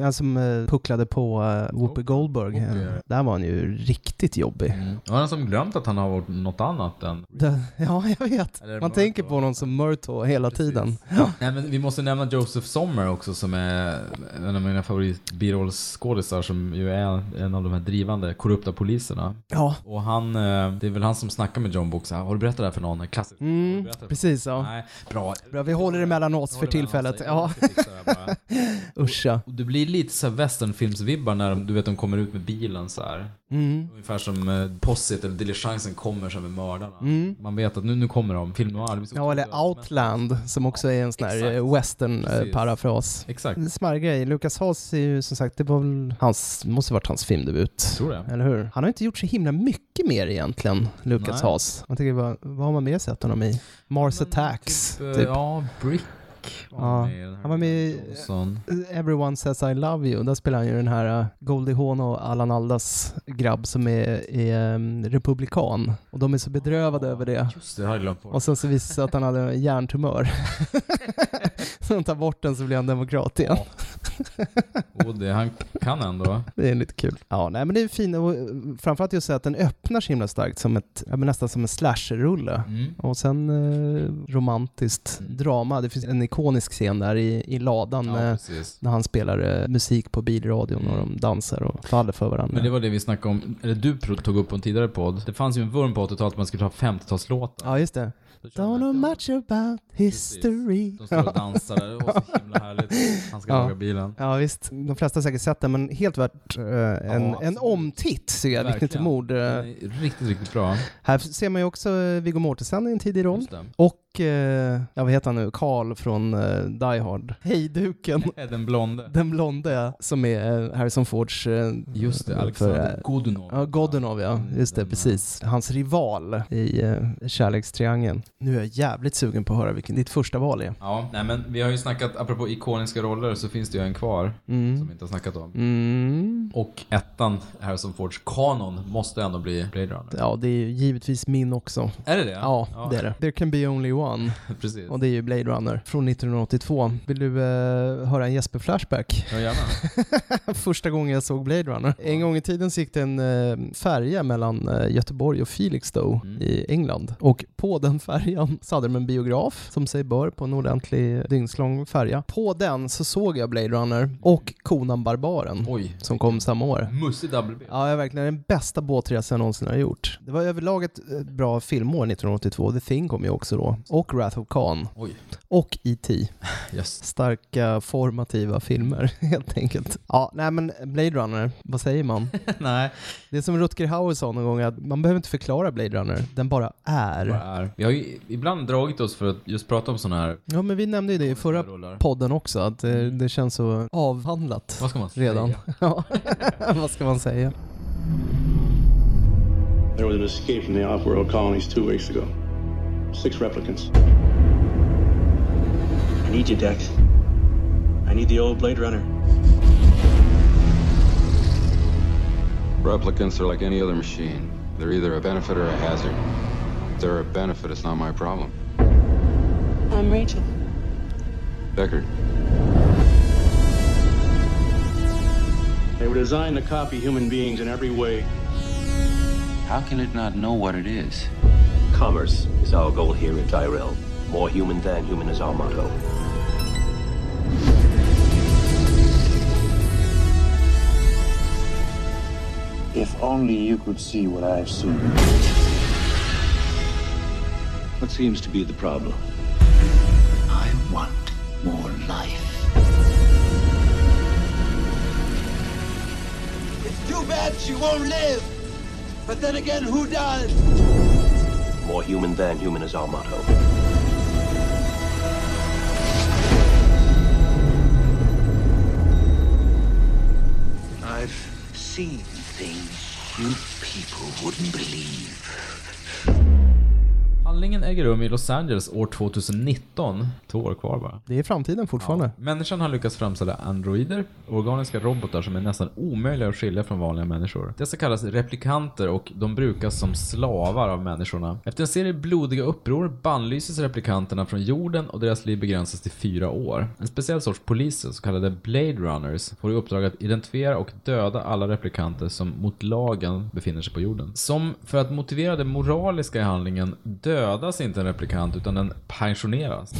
Speaker 2: han som eh, pucklade på eh, Whoopi Goldberg, eh, där var han ju riktigt jobbig.
Speaker 1: Mm. Och han har som glömt att han har varit något annat än
Speaker 2: Det, ja, jag vet.
Speaker 1: Eller
Speaker 2: Man
Speaker 1: Murtaugh.
Speaker 2: tänker på honom som Murtaugh hela tiden.
Speaker 1: Nej, men vi måste nämna Joseph Sommer också som är en av mina favorit birollskådisar som ju är en av de här drivande korrupta poliserna.
Speaker 2: Ja.
Speaker 1: Och han, eh, det är väl han som snackar med John Book så här, har du berättat det här för någon? Klassiskt.
Speaker 2: Mm, precis ja.
Speaker 1: Nej, bra.
Speaker 2: Bra, vi håller det mellan oss för tillfället. Ja. Uscha.
Speaker 1: Och det blir lite så här westernfilmsvibbar när de, du vet de kommer ut med bilen så här.
Speaker 2: Mm.
Speaker 1: Ungefär som eh, Possit eller Diligensen kommer som med mördarna.
Speaker 2: Mm.
Speaker 1: Man vet att nu, nu kommer de, film noir. Det blir så
Speaker 2: Ja, eller Outland som också är en sån här eh,
Speaker 1: Precis.
Speaker 2: western-parafras.
Speaker 1: Exakt.
Speaker 2: Smarrig grej. Lucas Haas är ju som sagt, det var väl hans, måste varit hans filmdebut.
Speaker 1: Tror det.
Speaker 2: Eller hur? Han har inte gjort så himla mycket mer egentligen, Lucas
Speaker 1: Nej.
Speaker 2: Haas. Man tänker bara, vad har man mer sett honom i? Mars Attacks,
Speaker 1: Eh,
Speaker 2: typ.
Speaker 1: Ja, Brick.
Speaker 2: Ja, han var med i
Speaker 1: Johnson.
Speaker 2: Everyone Says I Love You. Där spelar han ju den här eh, Goldie Hawn och Allan Aldas grabb som är, är em, republikan. Och de är så bedrövade över det.
Speaker 1: Det har jag glömt bort.
Speaker 2: Och sen så visar det sig att han hade en hjärntumör. så de tar bort den så blir han demokrat igen.
Speaker 1: Och det han kan ändå.
Speaker 2: Det är lite kul. Ja, nej men det är fint och eh, framförallt just att den öppnar så himla starkt som ett, ja, men nästan som en slasher-rulle. Mm. Och sen eh, romantiskt drama. Det finns en ikonisk scen där i, i ladan
Speaker 1: Ja,
Speaker 2: med,
Speaker 1: precis.
Speaker 2: när han spelar eh, musik på bilradion och de dansar och faller för varandra.
Speaker 1: Mm. Men det var det vi snackade om, eller du pro- tog upp på en tidigare podd. Det fanns ju en vurm på 80-talet att man skulle ta 50-talslåtar.
Speaker 2: Ja, just det. Don't know much about history.
Speaker 1: De står och dansar där, det var så himla härligt. Han ska
Speaker 2: Ja. Eh.
Speaker 1: laga bilen.
Speaker 2: Ja visst, de flesta har säkert sett den men helt värt eh, en, en omtitt tycker jag, Vittne till
Speaker 1: Verkligen. Mm.
Speaker 2: mord. eh.
Speaker 1: Riktigt, riktigt bra.
Speaker 2: Här ser man ju också eh, Viggo Mortensen i en tidig roll.
Speaker 1: det.
Speaker 2: Och, eh, ja vad heter han nu, Carl från eh, Die Hard. Hejduken.
Speaker 1: Den blonde.
Speaker 2: Den blonde ja, som är eh, Harrison Fords... eh,
Speaker 1: Just det,
Speaker 2: för, eh,
Speaker 1: Alexander Godunov.
Speaker 2: Ja, Godunov ja. Just det, precis. Hans rival i eh, kärlekstriangeln. Nu är jag jävligt sugen på att höra vilken ditt första val är.
Speaker 1: Ja, nej men vi har ju snackat, apropå ikoniska roller så finns det ju en
Speaker 2: Mm.
Speaker 1: kvar som vi inte har snackat om. Och ettan, Harrison Fords kanon, måste ändå bli Blade Runner.
Speaker 2: Ja, det är ju givetvis min också.
Speaker 1: Är det det?
Speaker 2: Ja,
Speaker 1: Ja.
Speaker 2: det är det. There can be only one.
Speaker 1: Precis.
Speaker 2: Och det är ju Blade Runner från 1982. Vill du eh, höra en Jesper-flashback?
Speaker 1: Ja, gärna.
Speaker 2: Första gången jag såg Blade Runner. En gång i tiden så gick det en eh, färja mellan eh, Göteborg och Felixstowe i England. Och på den färjan färja om Sutherland-biograf som sig bör på en ordentlig dygnslång färja. På den så såg jag Blade Runner och Konan Barbaren som kom samma år.
Speaker 1: Mussig WB.
Speaker 2: Ja, jag är verkligen den bästa båtresan jag någonsin har gjort. Det var överlag ett eh, bra filmår 1982. The Thing kom ju också då. Och Wrath of Khan.
Speaker 1: Oj.
Speaker 2: Och E E.T.
Speaker 1: Yes.
Speaker 2: Starka formativa filmer helt enkelt. Ja, nej men Blade Runner, vad säger man?
Speaker 1: nej.
Speaker 2: Det är som Rutger Hauer sa någon gång att man behöver inte förklara Blade Runner, den bara är.
Speaker 1: Vad är. Vi har ju ibland dragit oss för att just prata om sådana här...
Speaker 2: Ja men vi nämnde ju det Mm. i förra podden också, att det, det känns så avhandlat
Speaker 1: Vad ska man säga?
Speaker 2: redan. Ja. vad ska man säga?
Speaker 15: There was an escape from the off-world colonies two weeks ago. Six replicants. I need you, Dex. I need the old Blade Runner.
Speaker 13: Replicants are like any other machine. They're either a benefit or a hazard. If they're a benefit, it's not my problem.
Speaker 16: I'm Rachel.
Speaker 13: Deckard,
Speaker 15: They were designed to copy human beings in every way.
Speaker 14: How can it not know what it is?
Speaker 17: Commerce is our goal here at Tyrell. More human than human is our motto.
Speaker 18: If only you could see what I've seen.
Speaker 17: What seems to be the problem?
Speaker 18: I want more life.
Speaker 19: It's too bad she won't live. But then again, who does?
Speaker 17: More human than human is our motto.
Speaker 19: I've seen things you people wouldn't believe.
Speaker 1: Handlingen äger rum i Los Angeles år 2019. Två år kvar bara.
Speaker 2: Det är framtiden fortfarande.
Speaker 1: Människan har lyckats framställa androider, organiska robotar som är nästan omöjliga att skilja från vanliga människor. Dessa kallas replikanter och de brukas som slavar av människorna. Efter en serie blodiga uppror bannlyses replikanterna från jorden och deras liv begränsas till fyra år. En speciell sorts poliser, så kallade Blade Runners, får i uppdrag att identifiera och döda alla replikanter som mot lagen befinner sig på jorden. Som för att motivera det moraliska i handlingen dödas inte en replikant utan den pensioneras.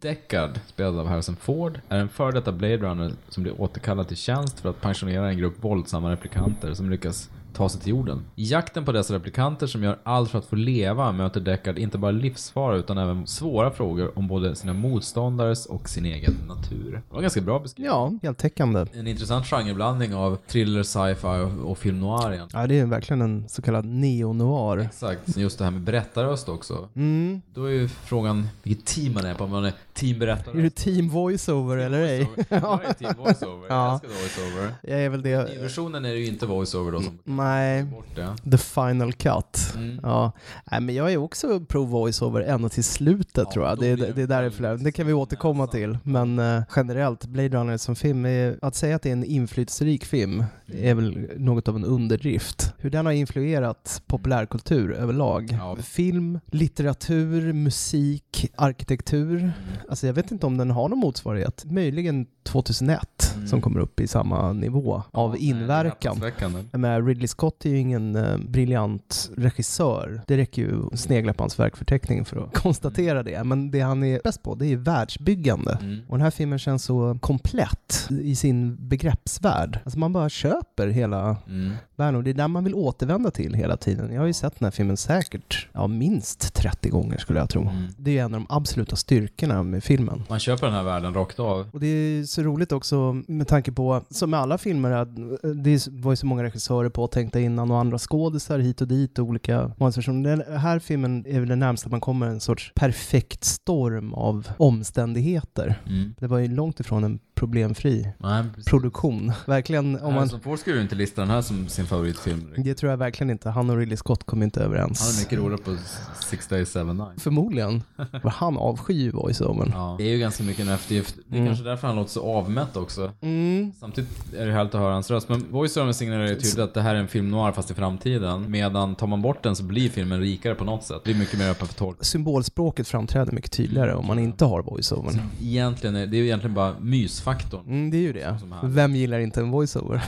Speaker 1: Deckard, spelad av Harrison Ford, är en före detta Blade Runner som blir återkallad till tjänst för att pensionera en grupp våldsamma replikanter som lyckas ta sig till jorden. I jakten på dessa replikanter som gör allt för att få leva möter Deckard inte bara livsfara utan även svåra frågor om både sina motståndares och sin egen natur. Det var en ganska bra beskrivning.
Speaker 2: Ja, heltäckande.
Speaker 1: En intressant genreblandning av thriller, sci-fi och- och film noir egentligen.
Speaker 2: Ja, det är verkligen en så kallad neo-noir.
Speaker 1: Exakt. Just det här med berättarröst också.
Speaker 2: Mm.
Speaker 1: Då är ju frågan vilket team man är på, om man är team berättare.
Speaker 2: Är du team voiceover eller ej?
Speaker 1: Jag är team voiceover. Jag
Speaker 2: Ja.
Speaker 1: älskar voiceover.
Speaker 2: Jag är väl det.
Speaker 1: I versionen är det ju inte voiceover då som...
Speaker 2: Nej,
Speaker 1: Bort det.
Speaker 2: the final cut.
Speaker 1: Mm.
Speaker 2: Ja. Nej, men jag är också pro voiceover ända till slutet tror jag. Det, är- det är därför, det kan vi återkomma till. Men eh, generellt, Blade Runner som film, är, att säga att det är en inflytelserik film är väl något av en underdrift. Hur den har influerat populärkultur överlag. Film, litteratur, musik, arkitektur. Alltså jag vet inte om den har någon motsvarighet. Möjligen 2001 som kommer upp i samma nivå av
Speaker 1: Mm.
Speaker 2: inverkan.
Speaker 1: Häpnadsväckande.
Speaker 2: Jag menar, Ridley Scott är ju ingen eh, briljant regissör. Det räcker ju att snegla på hans verkförteckning för att konstatera det. Men det han är bäst på, det är världsbyggande.
Speaker 1: Mm.
Speaker 2: Och den här filmen känns så komplett i sin begreppsvärld. Alltså man bara köper hela
Speaker 1: Mm.
Speaker 2: världen och det är där man vill återvända till hela tiden. Jag har ju sett den här filmen säkert, ja minst 30 gånger skulle jag tro. Det är ju en av de absoluta styrkorna med filmen.
Speaker 1: Mm. Man köper den här världen rakt av.
Speaker 2: Och det är så roligt också med tanke på, som med alla filmer, att eh, det var ju så många regissörer påtänkta innan och andra skådisar hit och dit och olika manuspersoner. Den här filmen är väl det närmsta man kommer en sorts perfekt storm av omständigheter.
Speaker 1: Mm.
Speaker 2: Det var ju långt ifrån en problemfri
Speaker 1: Nej,
Speaker 2: produktion. Verkligen, om man,
Speaker 1: Harrison Ford skulle ju inte lista den här som sin favoritfilm.
Speaker 2: det tror jag verkligen inte. Han och Ridley Scott kom inte överens.
Speaker 1: Han är mycket roligare på Six Days Seven Nights.
Speaker 2: Förmodligen. För han avskyr ju voiceovern.
Speaker 1: Ja. Det är ju ganska mycket en eftergift. Det är
Speaker 2: Mm.
Speaker 1: kanske därför han låter så avmätt också.
Speaker 2: Mm.
Speaker 1: Samtidigt är det härligt att höra hans röst. Men voiceovern signalerar ju tydligt att det här är en film noir fast i framtiden. Medan tar man bort den så blir filmen rikare på något sätt. Det blir mycket mer öppen för tolk.
Speaker 2: Symbolspråket framträder mycket tydligare om man inte har voiceovern.
Speaker 1: Egentligen är, det är ju egentligen bara mysfaktorn voice-faktorn.
Speaker 2: Mm, det är ju det. Vem gillar inte en voiceover?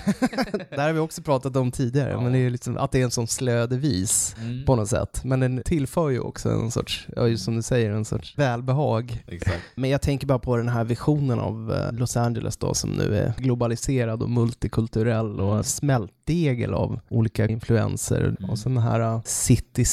Speaker 2: Där har vi också pratat om tidigare, men det är ju liksom att det är en sån slö devis
Speaker 1: Mm.
Speaker 2: på något sätt. Men den tillför ju också en sorts, ja just som du säger, en sorts välbehag.
Speaker 1: Exakt.
Speaker 2: Men jag tänker bara på den här visionen av eh, Los Angeles då som nu är globaliserad och multikulturell och smältdegel av olika influenser. Och sen den här eh, city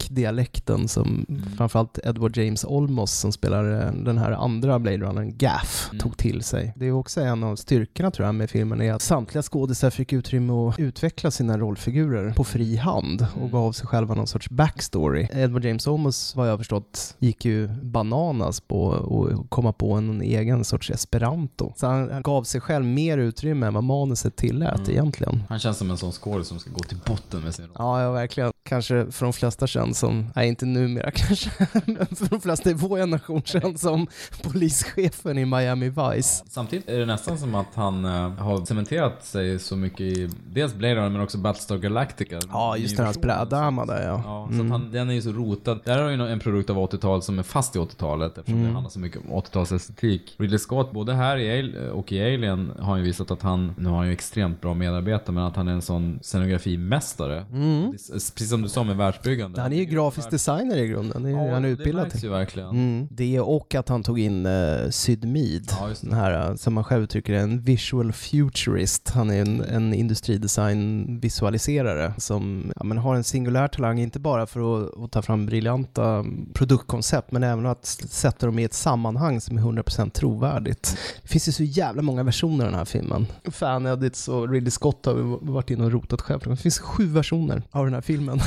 Speaker 2: speak-dialekten som framförallt Edward James Olmos som spelar eh, den här andra Blade Runnern, Gaff, tog till sig. Det är också en av styrkorna tror jag med filmen är att samtliga skådisar fick utrymme att utveckla sina rollfigurer på fri hand och gav sig själva någon sorts backstory. Edward James Olmos, vad jag har förstått, gick ju bananas på att komma på en egen sorts esperanto. Så han, han gav sig själv mer utrymme än vad manuset tillät egentligen.
Speaker 1: Han känns som en sån skådis som ska gå till botten med sin roll.
Speaker 2: Ja, ja, verkligen. Kanske för de flesta känns som, nej inte numera kanske, men för de flesta i vår generation känns som polischefen i Miami Vice.
Speaker 1: Samtidigt är det nästan som att han eh, har cementerat sig så mycket i dels Blade Runner men också Battlestar Galactica.
Speaker 2: Ja, just den här
Speaker 1: Nyversion.
Speaker 2: Spradama där ja.
Speaker 1: Ja, så
Speaker 2: Mm.
Speaker 1: att han, den är ju så rotad. Där har ju en produkt av 80-talet som är fast i 80-talet eftersom det
Speaker 2: Mm.
Speaker 1: handlar så mycket om 80-talsestetik. Ridley Scott, både här i Al- och i Alien, har ju visat att han, nu har han ju extremt bra medarbetare, men att han är en sån scenografimästare.
Speaker 2: Mm.
Speaker 1: Det är s- Precis som du sa med världsbyggande.
Speaker 2: Han är ju grafisk designer i grunden, det är,
Speaker 1: Ja,
Speaker 2: han
Speaker 1: det
Speaker 2: är utbildad
Speaker 1: märks
Speaker 2: till.
Speaker 1: ju verkligen.
Speaker 2: Mm. Det och att han tog in eh, Sydmid, den här eh, som man själv uttrycker det, en visual futurist. Han är en, en industridesign-visualiserare som ja, men har en singulär talang, inte bara för att, att ta fram briljanta produktkoncept, men även att s- sätta dem i ett sammanhang som är 100% trovärdigt. Det finns ju så jävla många versioner av den här filmen. Fan-edits och Ridley Scott har vi varit inne och rotat själv. Det finns sju versioner av den här filmen.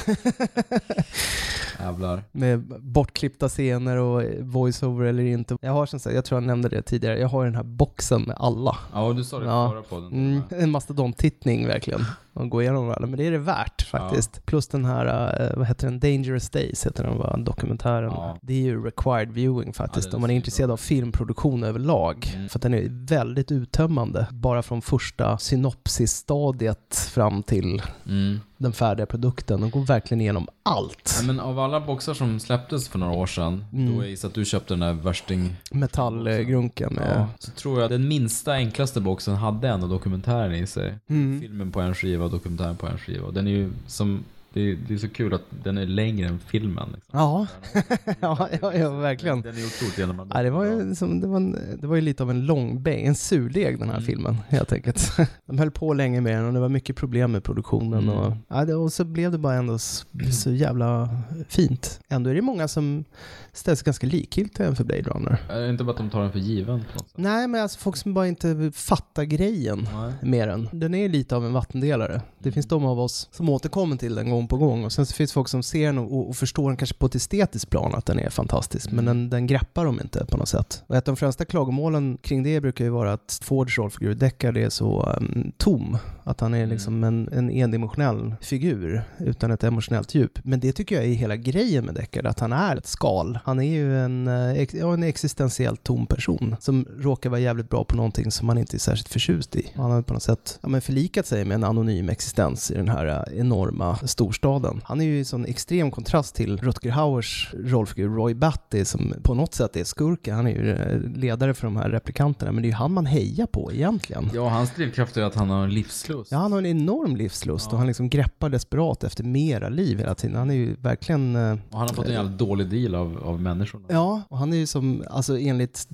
Speaker 1: Jävlar.
Speaker 2: Med bortklippta scener och voiceover eller inte. Jag har som sagt, jag tror jag nämnde det tidigare, jag har den här boxen med alla.
Speaker 1: Ja, du sa det förra podden till
Speaker 2: Mm, en mastodonttittning verkligen. Och gå igenom alla, men det är det värt faktiskt. Plus den här, eh, vad heter den, Dangerous Days heter den va, dokumentären. Det är ju required viewing faktiskt, om man är intresserad av filmproduktion överlag.
Speaker 1: Mm.
Speaker 2: För att den är väldigt uttömmande, bara från första synopsisstadiet fram till den färdiga produkten. De går verkligen igenom allt.
Speaker 1: Mm. Ja, men av alla boxar som släpptes för några år sedan,
Speaker 2: Mm.
Speaker 1: då är det att du köpte den där värsting...
Speaker 2: Metallgrunken med...
Speaker 1: Ja, så tror jag att den minsta enklaste boxen hade ändå dokumentären i sig.
Speaker 2: Mm.
Speaker 1: Filmen på en skiva och dokumentären på en skiva. Och Den är ju som, det är, det är så kul att den är längre än filmen. Liksom.
Speaker 2: Ja, ja, ja, ja verkligen.
Speaker 1: Den är otroligt genomarbetad.
Speaker 2: Ja, det, var ju som, det, var en, det var ju lite av en långbänk, en surdeg den här filmen helt enkelt. De höll på länge med den och det var mycket problem med produktionen. Och, ja, det, och så blev det bara ändå så, så jävla fint. Ändå är det många som ställs ganska likgiltiga inför Blade Runner.
Speaker 1: Är det inte bara att de tar den för given? På något sätt?
Speaker 2: Nej, men alltså folk som bara inte fattar grejen med den. Den är lite av en vattendelare. Det finns de av oss som återkommer till den gång på gång och sen så finns folk som ser den och, och förstår den kanske på ett estetiskt plan att den är fantastisk, men den, den greppar dem inte på något sätt. Och ett av de främsta klagomålen kring det brukar ju vara att Fords rollfigur Deckard är så um, tom, att han är liksom en, en endimensionell figur utan ett emotionellt djup. Men det tycker jag är hela grejen med Deckard, att han är ett skal. Han är ju en, eh, ex, ja, en existentiellt tom person som råkar vara jävligt bra på någonting som han inte är särskilt förtjust i. Han har på något sätt ja, men förlikat sig med en anonym existens i den här eh, enorma storstaden. Han är ju i sån extrem kontrast till Rutger Hauers rollfigur Roy Batty som på något sätt är skurken. Han är ju eh, ledare för de här replikanterna, men det är ju han man hejar på egentligen.
Speaker 1: Ja, hans drivkraft är att han har en livslust.
Speaker 2: Ja, han har en enorm livslust och han liksom greppar desperat efter mera liv hela tiden. Han är ju verkligen... eh,
Speaker 1: Och han har fått en
Speaker 2: eh,
Speaker 1: jävligt dålig deal av, av människorna.
Speaker 2: Ja, och han är ju som, alltså enligt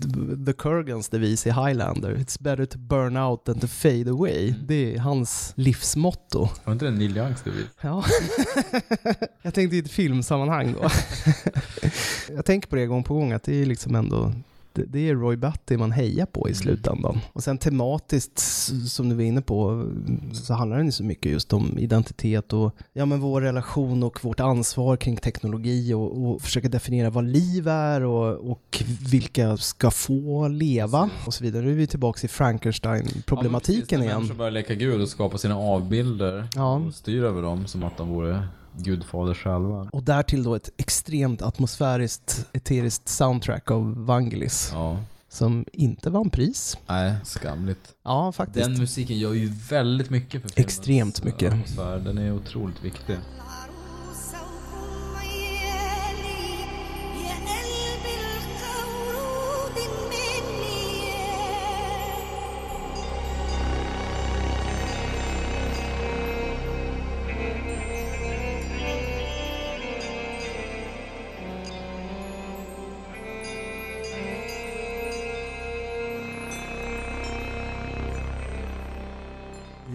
Speaker 2: The Kurgans devis i Highlander, it's better to burn out than to fade away. Det är hans livsmotto.
Speaker 1: Var inte det Neil Youngs devis?
Speaker 2: Ja. jag tänkte i ett filmsammanhang då. jag tänker på det gång på gång att det är liksom ändå det- det är Roy Batty man hejar på i slutändan. Och sen tematiskt, s- som du var inne på, så handlar den ju så mycket just om identitet och ja, men vår relation och vårt ansvar kring teknologi och, och försöka definiera vad liv är och, och vilka ska få leva och så vidare. Nu är vi tillbaka i Frankenstein-problematiken
Speaker 1: När
Speaker 2: igen.
Speaker 1: Människor börjar leka gud och skapa sina avbilder
Speaker 2: Ja.
Speaker 1: och styr över dem som att de vore gudfader själva.
Speaker 2: Och därtill då ett extremt atmosfäriskt, eteriskt soundtrack av Vangelis. Som inte vann pris.
Speaker 1: Nej, skamligt.
Speaker 2: Ja, faktiskt.
Speaker 1: Den musiken gör ju väldigt mycket för filmen.
Speaker 2: Extremt mycket.
Speaker 1: Atmosfär. Den är otroligt viktig.
Speaker 9: يا قلبي القورود مني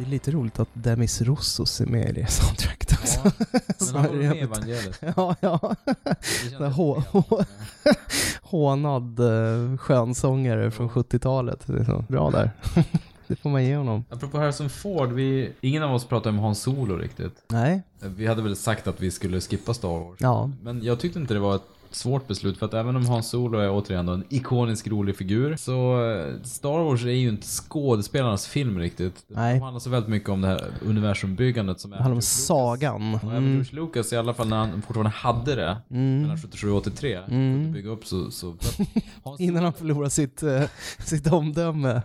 Speaker 2: lite roligt att Demis Roussos är med i det soundtracket också.
Speaker 1: Men han var med i
Speaker 2: jävligt-
Speaker 1: Evangeliet.
Speaker 2: Ja, ja. Den här hå- hå- hånad eh, skönsångare från 70-talet. Det är så Bra där. Det får man ge honom.
Speaker 1: Apropå Harrison Ford, vi, ingen av oss pratade om Hans Solo riktigt.
Speaker 2: Nej.
Speaker 1: Vi hade väl sagt att vi skulle skippa Star Wars.
Speaker 2: Ja.
Speaker 1: Men jag tyckte inte det var ett svårt beslut för att även om Hans Solo är återigen då en ikonisk rolig figur så eh, Star Wars är ju inte skådespelarnas film riktigt.
Speaker 2: Nej.
Speaker 1: Det handlar så väldigt mycket om det här universumbyggandet som
Speaker 2: Det
Speaker 1: är
Speaker 2: handlar om sagan.
Speaker 1: Och även George Lucas, i alla fall när han fortfarande hade det,
Speaker 2: Mm.
Speaker 1: mellan 77 och 83,
Speaker 2: Mm.
Speaker 1: kunde bygga upp så... så
Speaker 2: Innan han förlorar sitt, eh, sitt omdöme.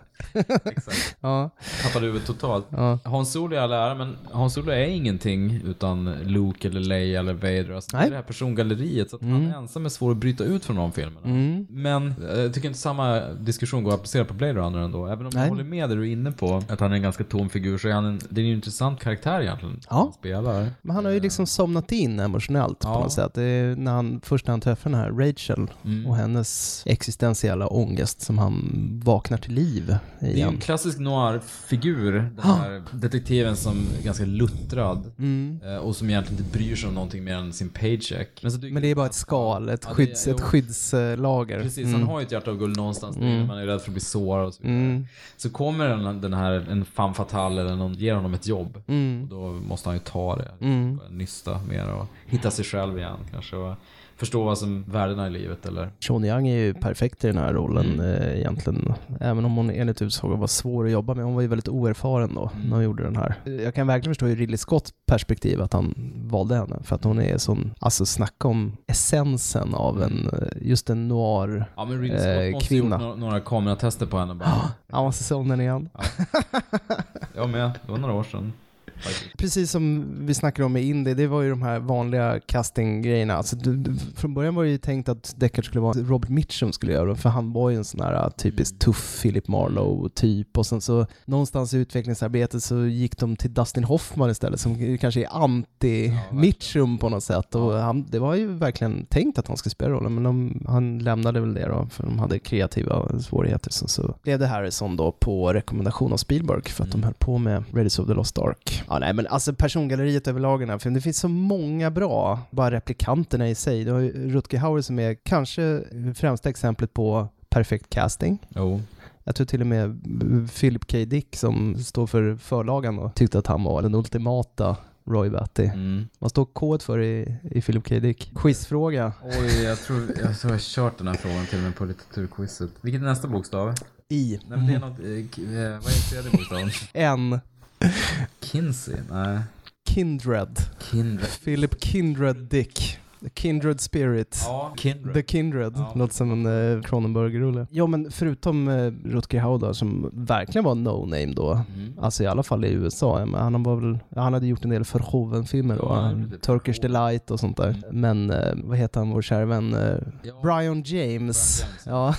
Speaker 1: Exakt.
Speaker 2: Ja.
Speaker 1: Tappade huvudet totalt.
Speaker 2: Ja.
Speaker 1: Hans Solo i all ära, men Hans Solo är ingenting utan Luke eller Leia eller Vader. Alltså, det är det här persongalleriet. Så att han ensam är svår att bryta ut från de filmerna.
Speaker 2: Mm.
Speaker 1: Men eh, jag tycker inte samma diskussion går att applicera på Blade Runner ändå. Även om
Speaker 2: Nej.
Speaker 1: jag håller med det du är inne på, att han är en ganska tom figur, så är han en, det är ju en intressant karaktär egentligen.
Speaker 2: Ja.
Speaker 1: Han spelar.
Speaker 2: Men han har ju liksom somnat in emotionellt på
Speaker 1: Eh. Ja. Mm.
Speaker 2: något sätt. Det är när han, först när han träffar den här Rachel och hennes existentiella ångest som han vaknar till liv
Speaker 1: Det är ju en
Speaker 2: igen.
Speaker 1: klassisk noir-figur,
Speaker 2: Ah.
Speaker 1: den här detektiven som är ganska luttrad
Speaker 2: Mm.
Speaker 1: eh, och som egentligen inte bryr sig om någonting mer än sin paycheck. Men, så dyker
Speaker 2: Men det är bara ett skal, ett,
Speaker 1: Ja, det är-
Speaker 2: skydds, ett
Speaker 1: jo.
Speaker 2: skyddslager.
Speaker 1: Precis,
Speaker 2: Mm.
Speaker 1: han har ju ett hjärta av guld någonstans.
Speaker 2: Mm.
Speaker 1: Mm. Man är rädd för att bli sårad och så vidare.
Speaker 2: Mm.
Speaker 1: Så kommer den, den här, en femme fatale eller någon, ger honom ett jobb.
Speaker 2: Mm.
Speaker 1: Och då måste han ju ta det.
Speaker 2: Mm.
Speaker 1: Börja nysta mer och hitta sig själv igen kanske. Och förstå vad som värdena i livet eller.
Speaker 2: Sean Young är ju perfekt i den här
Speaker 1: Mm.
Speaker 2: rollen eh, egentligen. Även om hon enligt utsago var svår att jobba med. Hon var ju väldigt oerfaren då
Speaker 1: Mm.
Speaker 2: när hon gjorde den här. Eh, Jag kan verkligen förstå ur Ridley Scotts perspektiv att han valde henne. För att hon är sån, alltså snacka om essensen av
Speaker 1: Mm.
Speaker 2: en, eh, just en noir
Speaker 1: Ja men Ridley Scott
Speaker 2: eh,
Speaker 1: måste gjort
Speaker 2: kvinna. Ah.
Speaker 1: några, några kameratester på henne bara.
Speaker 2: Ja, man ska se om den igen.
Speaker 1: Jag med, det var några år sedan. faktiskt.
Speaker 2: Precis som vi snackade om med Indy, det var ju de här vanliga castinggrejerna. Alltså, du, du, från början var det ju tänkt att Deckard skulle vara Robert Mitchum skulle göra dem, för han var ju en sån här typiskt tuff Philip Marlowe-typ. Och sen så någonstans i utvecklingsarbetet så gick de till Dustin Hoffman istället, som ju kanske är anti-Mitchum på något sätt. Och han, det var ju verkligen tänkt att han skulle spela rollen, men de, han lämnade väl det då, för de hade kreativa svårigheter. Så, så blev det Harrison då på rekommendation av Spielberg, för att de höll på med Raiders of the Lost Ark. Mm. Ja, nej, men alltså persongalleriet överlag i den här filmen, det finns så många bra, bara replikanterna i sig. Du har ju Rutger Hauer som är kanske främsta exemplet på perfekt casting.
Speaker 1: Jo.
Speaker 2: Jag tror till och med Philip K. Dick som står för förlagan då, tyckte att han var den ultimata Roy Batty.
Speaker 1: Mm.
Speaker 2: Vad står K för i, i Philip K. Dick? Quizfråga.
Speaker 1: Oj, jag tror jag, tror jag har kört den här frågan till och med på litteraturquizet. Vilket är nästa bokstav?
Speaker 2: I.
Speaker 1: Nej, men det är något, eh, k- eh, vad är tredje bokstaven?
Speaker 2: N.
Speaker 1: Kinsey? Nej.
Speaker 2: Kindred.
Speaker 1: Kindred.
Speaker 2: Philip Kindred Dick. The Kindred Spirit.
Speaker 1: Ja, Kindred.
Speaker 2: The Kindred.
Speaker 1: Ja.
Speaker 2: Låter som en eh, Cronenberg-rulle. Ja, men förutom eh, Rutger Hauer då, som verkligen var no-name då,
Speaker 1: Mm.
Speaker 2: alltså i alla fall i USA. Men han, var väl, ja, han hade gjort en del Verhoeven-filmer då,
Speaker 1: Ja, han typ
Speaker 2: han- Turkish Delight och sånt där.
Speaker 1: Mm.
Speaker 2: Men eh, vad heter han, vår kära vän? Eh, Brian James. Ja.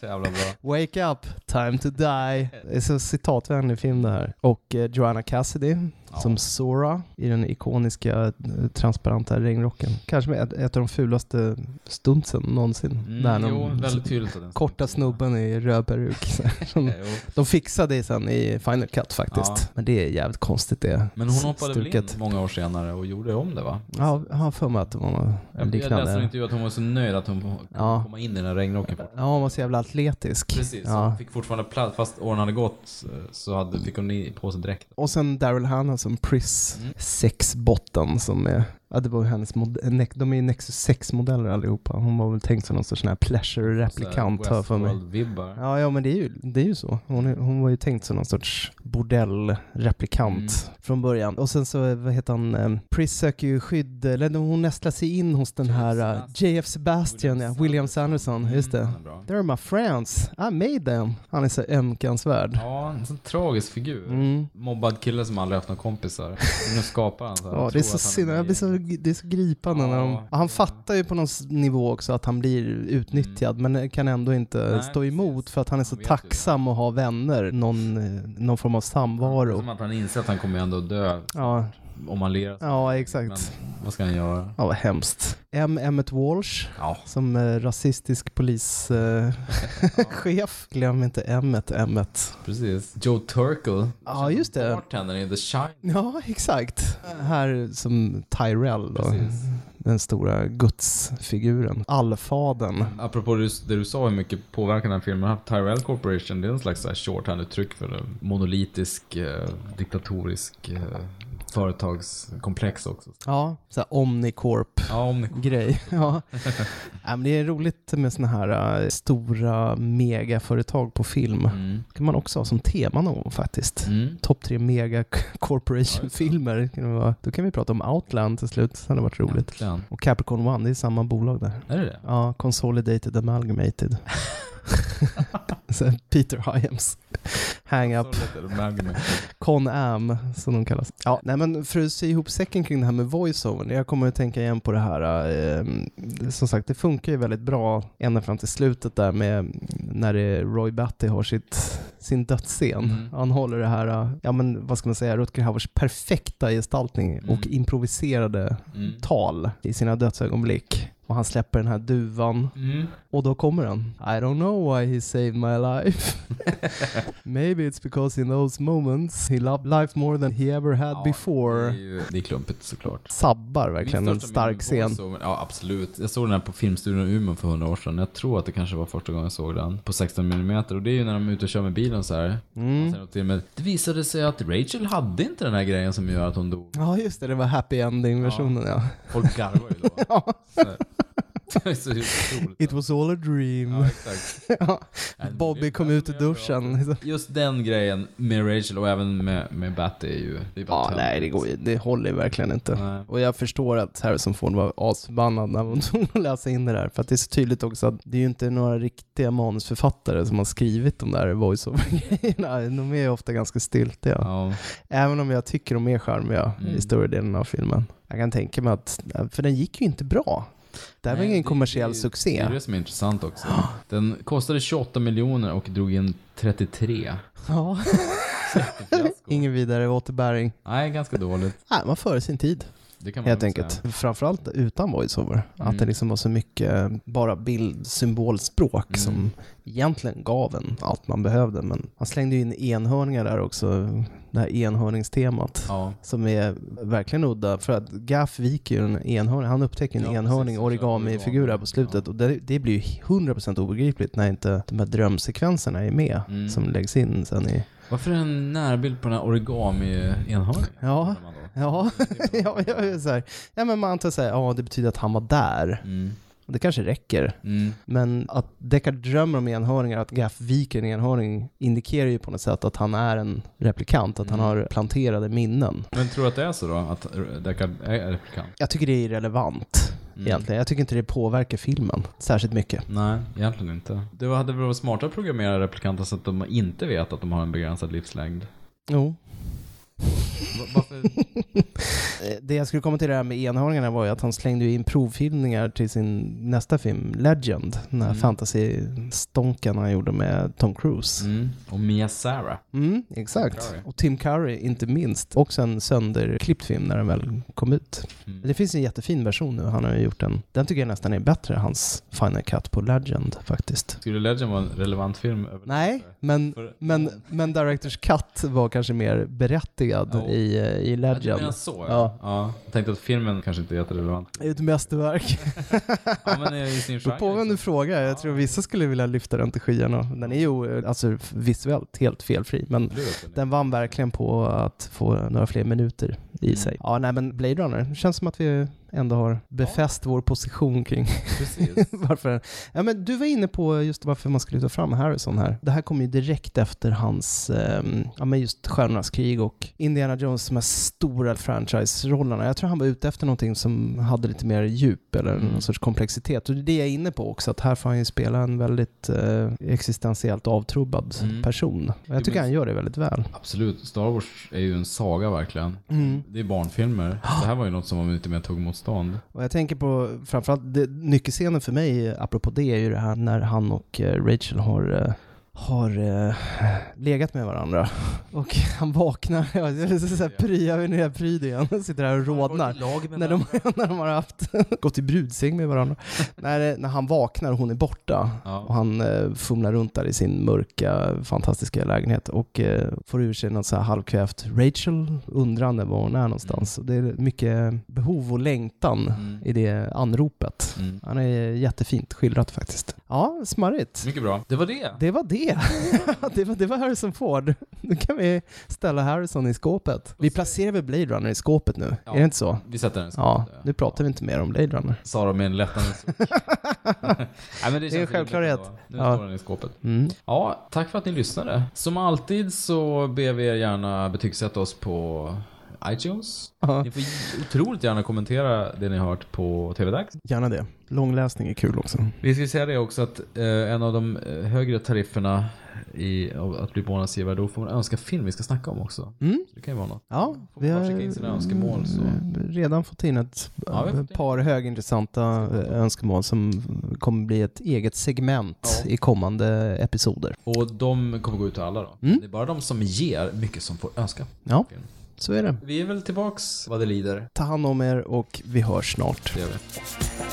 Speaker 1: Så jävla bra.
Speaker 2: Wake up, time to die. Det är så citatvänlig film det här. Och eh, Joanna Cassidy som Sora i den ikoniska eh, transparenta regnrocken. Kanske med ett, ett av de fulaste stuntsen någonsin.
Speaker 1: Mm,
Speaker 2: Där de-
Speaker 1: jo, väldigt tydligt att den
Speaker 2: Korta snubben i röd peruk. så här, som- de fixade det sen i Final Cut faktiskt.
Speaker 1: Ja.
Speaker 2: Men det är jävligt konstigt det
Speaker 1: Men hon hoppade
Speaker 2: stuket.
Speaker 1: väl in många år senare och gjorde om det va?
Speaker 2: Ja, jag har för mig att det var något
Speaker 1: Jag, jag läste en
Speaker 2: liknande.
Speaker 1: intervju att hon var så nöjd att hon kunde
Speaker 2: Ja.
Speaker 1: komma in i den här regnrocken.
Speaker 2: Ja, hon var så jävla atletisk.
Speaker 1: Precis, så
Speaker 2: Ja.
Speaker 1: hon fick fortfarande plats. Fast åren hade gått så hade, fick hon i- på sig dräkt.
Speaker 2: Och sen Daryl Hannah som Pris sexbotten som är, ja det var ju hennes mod- ne- de är ju Nexus 6-modeller allihopa. Hon var väl tänkt som någon sorts sån här Alltså, pleasure-replikant har jag för mig.
Speaker 1: Westworld-vibbar.
Speaker 2: Ja, ja, men det är ju, det är ju så. Hon, är, hon var ju tänkt som någon sorts bordellreplikant från början. Och sen så, eh, vad heter han, eh, Pris söker ju skydd, eller hon nästlar sig in hos den här eh, JF Sebastian, ja, William
Speaker 1: Mm,
Speaker 2: Sanderson, just det. They're my friends, I made them. Han är så ömkansvärd.
Speaker 1: Ja, en sån
Speaker 2: Mm.
Speaker 1: tragisk figur. Mobbad kille som aldrig haft några kompisar. Men Nu skapar han så här.
Speaker 2: Ja,
Speaker 1: och
Speaker 2: det är
Speaker 1: tror
Speaker 2: så
Speaker 1: att han
Speaker 2: synd. Jag blir så så, det är så gripande. när de, han fattar ju på någon s- nivå också att han blir utnyttjad men kan ändå inte
Speaker 1: Mm. Nej,
Speaker 2: stå emot för att han är så tacksam att ha vänner, någon, eh, någon form av samvaro.
Speaker 1: Som att han inser att han kommer ju ändå dö
Speaker 2: Ja.
Speaker 1: om han ler.
Speaker 2: Ja, exakt.
Speaker 1: Vad ska han göra?
Speaker 2: Ja, vad hemskt. M. Emmet Walsh, som eh, rasistisk polischef. Eh, chef. Glöm inte Emmet, Emmet.
Speaker 1: Precis. Joe Turkel.
Speaker 2: Ja, just det.
Speaker 1: Bartendern i The Shine.
Speaker 2: Ja, exakt. Här som Tyrell då. Den stora gudsfiguren. Allfaden.
Speaker 1: Apropå det du- det du sa hur mycket påverkan den här filmen har haft. Tyrell Corporation, det är en slags så här shorthand-uttryck för en monolitisk, eh, diktatorisk eh, företagskomplex också.
Speaker 2: Ja, så här Omnicorp-grej. Ja, ja. men det är roligt med såna här eh, stora megaföretag på film.
Speaker 1: Mm.
Speaker 2: kan man också ha som tema någon gång faktiskt. Topp tre mega corporation-filmer. Det kan vara- Då kan vi prata om Outland till slut. Det hade varit roligt. Och Capricorn One, det är samma bolag där.
Speaker 1: Är det det?
Speaker 2: Ja, Consolidated Amalgamated. Så här, Peter Hyams. Hang up. Con Am, som de kallas. Ja, nej men för att sy ihop säcken kring det här med voiceovern, jag kommer att tänka igen på det här, eh, som sagt det funkar ju väldigt bra ända fram till slutet där med när det är Roy Batty har sitt, sin dödsscen. Han håller det här, eh, ja men vad ska man säga, Rutger Hauers perfekta gestaltning och improviserade tal i sina dödsögonblick. Och han släpper den här duvan
Speaker 1: Mm.
Speaker 2: och då kommer den. I don't know why he saved my life. Maybe it's because in those moments he loved life more than he ever had
Speaker 1: Det är,
Speaker 2: before.
Speaker 1: ju, det är klumpigt såklart.
Speaker 2: Sabbar verkligen en
Speaker 1: Min största
Speaker 2: stark
Speaker 1: minne med
Speaker 2: scen.
Speaker 1: voiceover- Ja, absolut. Jag såg den här på Filmstudion i Umeå för hundra år sedan. Jag tror att det kanske var första gången jag såg den. På 16 mm. Och det är ju när de är ute och kör med bilen så här.
Speaker 2: Mm.
Speaker 1: Och sen till och med, det visade sig att Rachel hade inte den här grejen som gör att hon dog.
Speaker 2: Ja just det, det var happy ending-versionen ja.
Speaker 1: Folk garvar ju då.
Speaker 2: Ja.
Speaker 1: Så här. Det är så otroligt.
Speaker 2: It was all a dream.
Speaker 1: Ja, exakt.
Speaker 2: Ja. Bobby kom ut ur duschen.
Speaker 1: Just den grejen med Rachel och även med, med Batty är ju... Det är bara
Speaker 2: Ja, nej, det, går, ju- det håller ju verkligen inte. Och jag förstår att Harrison Ford var asförbannad när hon tog och läsa in det där. För att det är så tydligt också att det är ju inte några riktiga manusförfattare som har skrivit de där voice-over-grejerna. De är ju ofta ganska styltiga. Även om jag tycker de är charmiga
Speaker 1: Mm.
Speaker 2: i större delen av filmen. Jag kan tänka mig att, för den gick ju inte bra. Det här var
Speaker 1: Nej,
Speaker 2: ingen
Speaker 1: det-
Speaker 2: kommersiell
Speaker 1: det- Det
Speaker 2: succé.
Speaker 1: är det som är intressant också. Den kostade 28 miljoner och drog in 33.
Speaker 2: Ja. ingen vidare återbäring.
Speaker 1: Nej, ganska dåligt.
Speaker 2: Nej, man före sin tid.
Speaker 1: Det kan man
Speaker 2: Helt
Speaker 1: väl
Speaker 2: enkelt.
Speaker 1: säga. Mm.
Speaker 2: Framförallt utan voiceover. Att det liksom var så mycket bara bild,
Speaker 1: Mm.
Speaker 2: symbolspråk som egentligen gav en allt man behövde. Men han slängde ju in enhörningar där också. Det här enhörningstemat. Som är verkligen udda. För att Gaff viker ju en enhörning. Han upptäcker en enhörning, origamifigur där på slutet. Och det, det blir ju 100% obegripligt när inte de här drömsekvenserna är med.
Speaker 1: Mm.
Speaker 2: Som läggs in sen i...
Speaker 1: Varför är det en närbild på den här origami-enhörningen?
Speaker 2: Ja, ja, ja, jag är så här. ja men man antar så här, ja det betyder att han var där. Och Det kanske räcker. Men att Deckard drömmer om enhörningar, att Gaff viker en enhörning indikerar ju på något sätt att han är en replikant, att han har planterade minnen.
Speaker 1: Men tror du att det är så då? Att Deckard är replikant?
Speaker 2: Jag tycker det är irrelevant egentligen. Jag tycker inte det påverkar filmen särskilt mycket.
Speaker 1: Nej, egentligen inte. Det hade väl varit smartare att programmera replikanter så att de inte vet att de har en begränsad livslängd.
Speaker 2: Jo. Eh, det jag skulle komma till det här med enhörningarna var ju att han slängde ju in provfilmningar till sin nästa film, Legend. Den här fantasy-stonken han gjorde med Tom Cruise.
Speaker 1: Mm. Och Mia Sara.
Speaker 2: Mm, exakt.
Speaker 1: Curry.
Speaker 2: Och Tim Curry, inte minst. Också en sönderklippt film när den väl kom ut.
Speaker 1: Mm.
Speaker 2: Det finns en jättefin version nu. Han har ju gjort den. Den tycker jag nästan är bättre, hans Final Cut på Legend faktiskt.
Speaker 1: Skulle Legend vara en relevant film? över-
Speaker 2: Nej, men, men, men Directors Cut var kanske mer berättigad i, eh, i
Speaker 1: Ja, du
Speaker 2: Legend.
Speaker 1: menar så?
Speaker 2: ja.
Speaker 1: Ja. ja. Jag tänkte att filmen kanske inte är jätterelevant.
Speaker 2: Det är ett mästerverk.
Speaker 1: Ja, men det är ju sin
Speaker 2: Beror på
Speaker 1: genre. liksom.
Speaker 2: vem du frågar. Jag tror vissa skulle vilja lyfta den till skyarna. Den är ju eh, alltså, visuellt helt felfri, men Typ. den vann Mm. verkligen på att få några fler minuter i sig. Ja, nej men Blade Runner, det känns som att vi är ändå har befäst vår position kring varför. Ja, men du var inne på just varför man skulle ta fram Harrison här. Det här kommer ju direkt efter hans, ehm, ja men just Stjärnornas krig och Indiana Jones, de här stora franchise-rollerna. Jag tror han var ute efter någonting som hade lite mer djup eller någon sorts komplexitet. Och det är det jag är inne på också, att här får han ju spela en väldigt eh, existentiellt avtrubbad
Speaker 1: Mm.
Speaker 2: person. Och jag
Speaker 1: Du
Speaker 2: tycker
Speaker 1: minns-
Speaker 2: han gör det väldigt väl.
Speaker 1: Absolut, Star Wars är ju en saga verkligen.
Speaker 2: Mm.
Speaker 1: Det är barnfilmer. Det här var ju något som var lite mer tog motstånd.
Speaker 2: Och jag tänker på, framförallt, det, nyckelscenen för mig, apropå det, är ju det här när han och eh, Rachel har eh, har eh, legat med varandra. Och han vaknar, ja, det är så här pry, jag vet inte, jag pryder igen, Han sitter där och rodnar. När de, när de har haft, gått i brudsäng med varandra. när, eh, när han vaknar och hon är borta och han eh, fumlar runt där i sin mörka, fantastiska lägenhet och eh, får ur sig något så här halvkvävt Rachel, undrande var hon är någonstans. Och Det är mycket behov och längtan i det anropet.
Speaker 1: Mm.
Speaker 2: Han är jättefint skildrat faktiskt. Ja, smarrigt.
Speaker 1: Mycket bra. Det var det.
Speaker 2: Det var det. det, var, det var Harrison Ford. Nu kan vi ställa Harrison i skåpet. Vi placerar väl Blade Runner i skåpet nu? är det inte så?
Speaker 1: vi sätter den i
Speaker 2: skåpet. Ja, nu pratar vi inte mer om Blade Runner.
Speaker 1: Sa de med en lättnadens Nej, men
Speaker 2: Det är
Speaker 1: känns
Speaker 2: en
Speaker 1: rimligt
Speaker 2: självklarhet.
Speaker 1: ändå. Nu
Speaker 2: Ja.
Speaker 1: står den i skåpet.
Speaker 2: Mm.
Speaker 1: Ja, tack för att ni lyssnade. Som alltid så ber vi er gärna betygsätta oss på iTunes. Ni får otroligt gärna kommentera det ni har hört på TV-dags.
Speaker 2: Gärna det. Långläsning är kul också.
Speaker 1: Vi ska säga det också att eh, en av de eh, högre tarifferna i, av att bli månadsgivare, då får man önska film vi ska snacka om också.
Speaker 2: Mm.
Speaker 1: Så det kan ju vara något.
Speaker 2: Ja, vi har
Speaker 1: skicka in sina önskemål, så.
Speaker 2: mm, redan fått in ett
Speaker 1: Ja, vi har fått
Speaker 2: par högintressanta eh, önskemål som kommer bli ett eget segment i kommande episoder.
Speaker 1: Och de kommer gå ut till alla då. Det är bara de som ger mycket som får önska.
Speaker 2: Ja, så är det.
Speaker 1: Vi är väl tillbaks vad det lider.
Speaker 2: Ta hand om er och vi hörs snart.
Speaker 1: Det gör vi.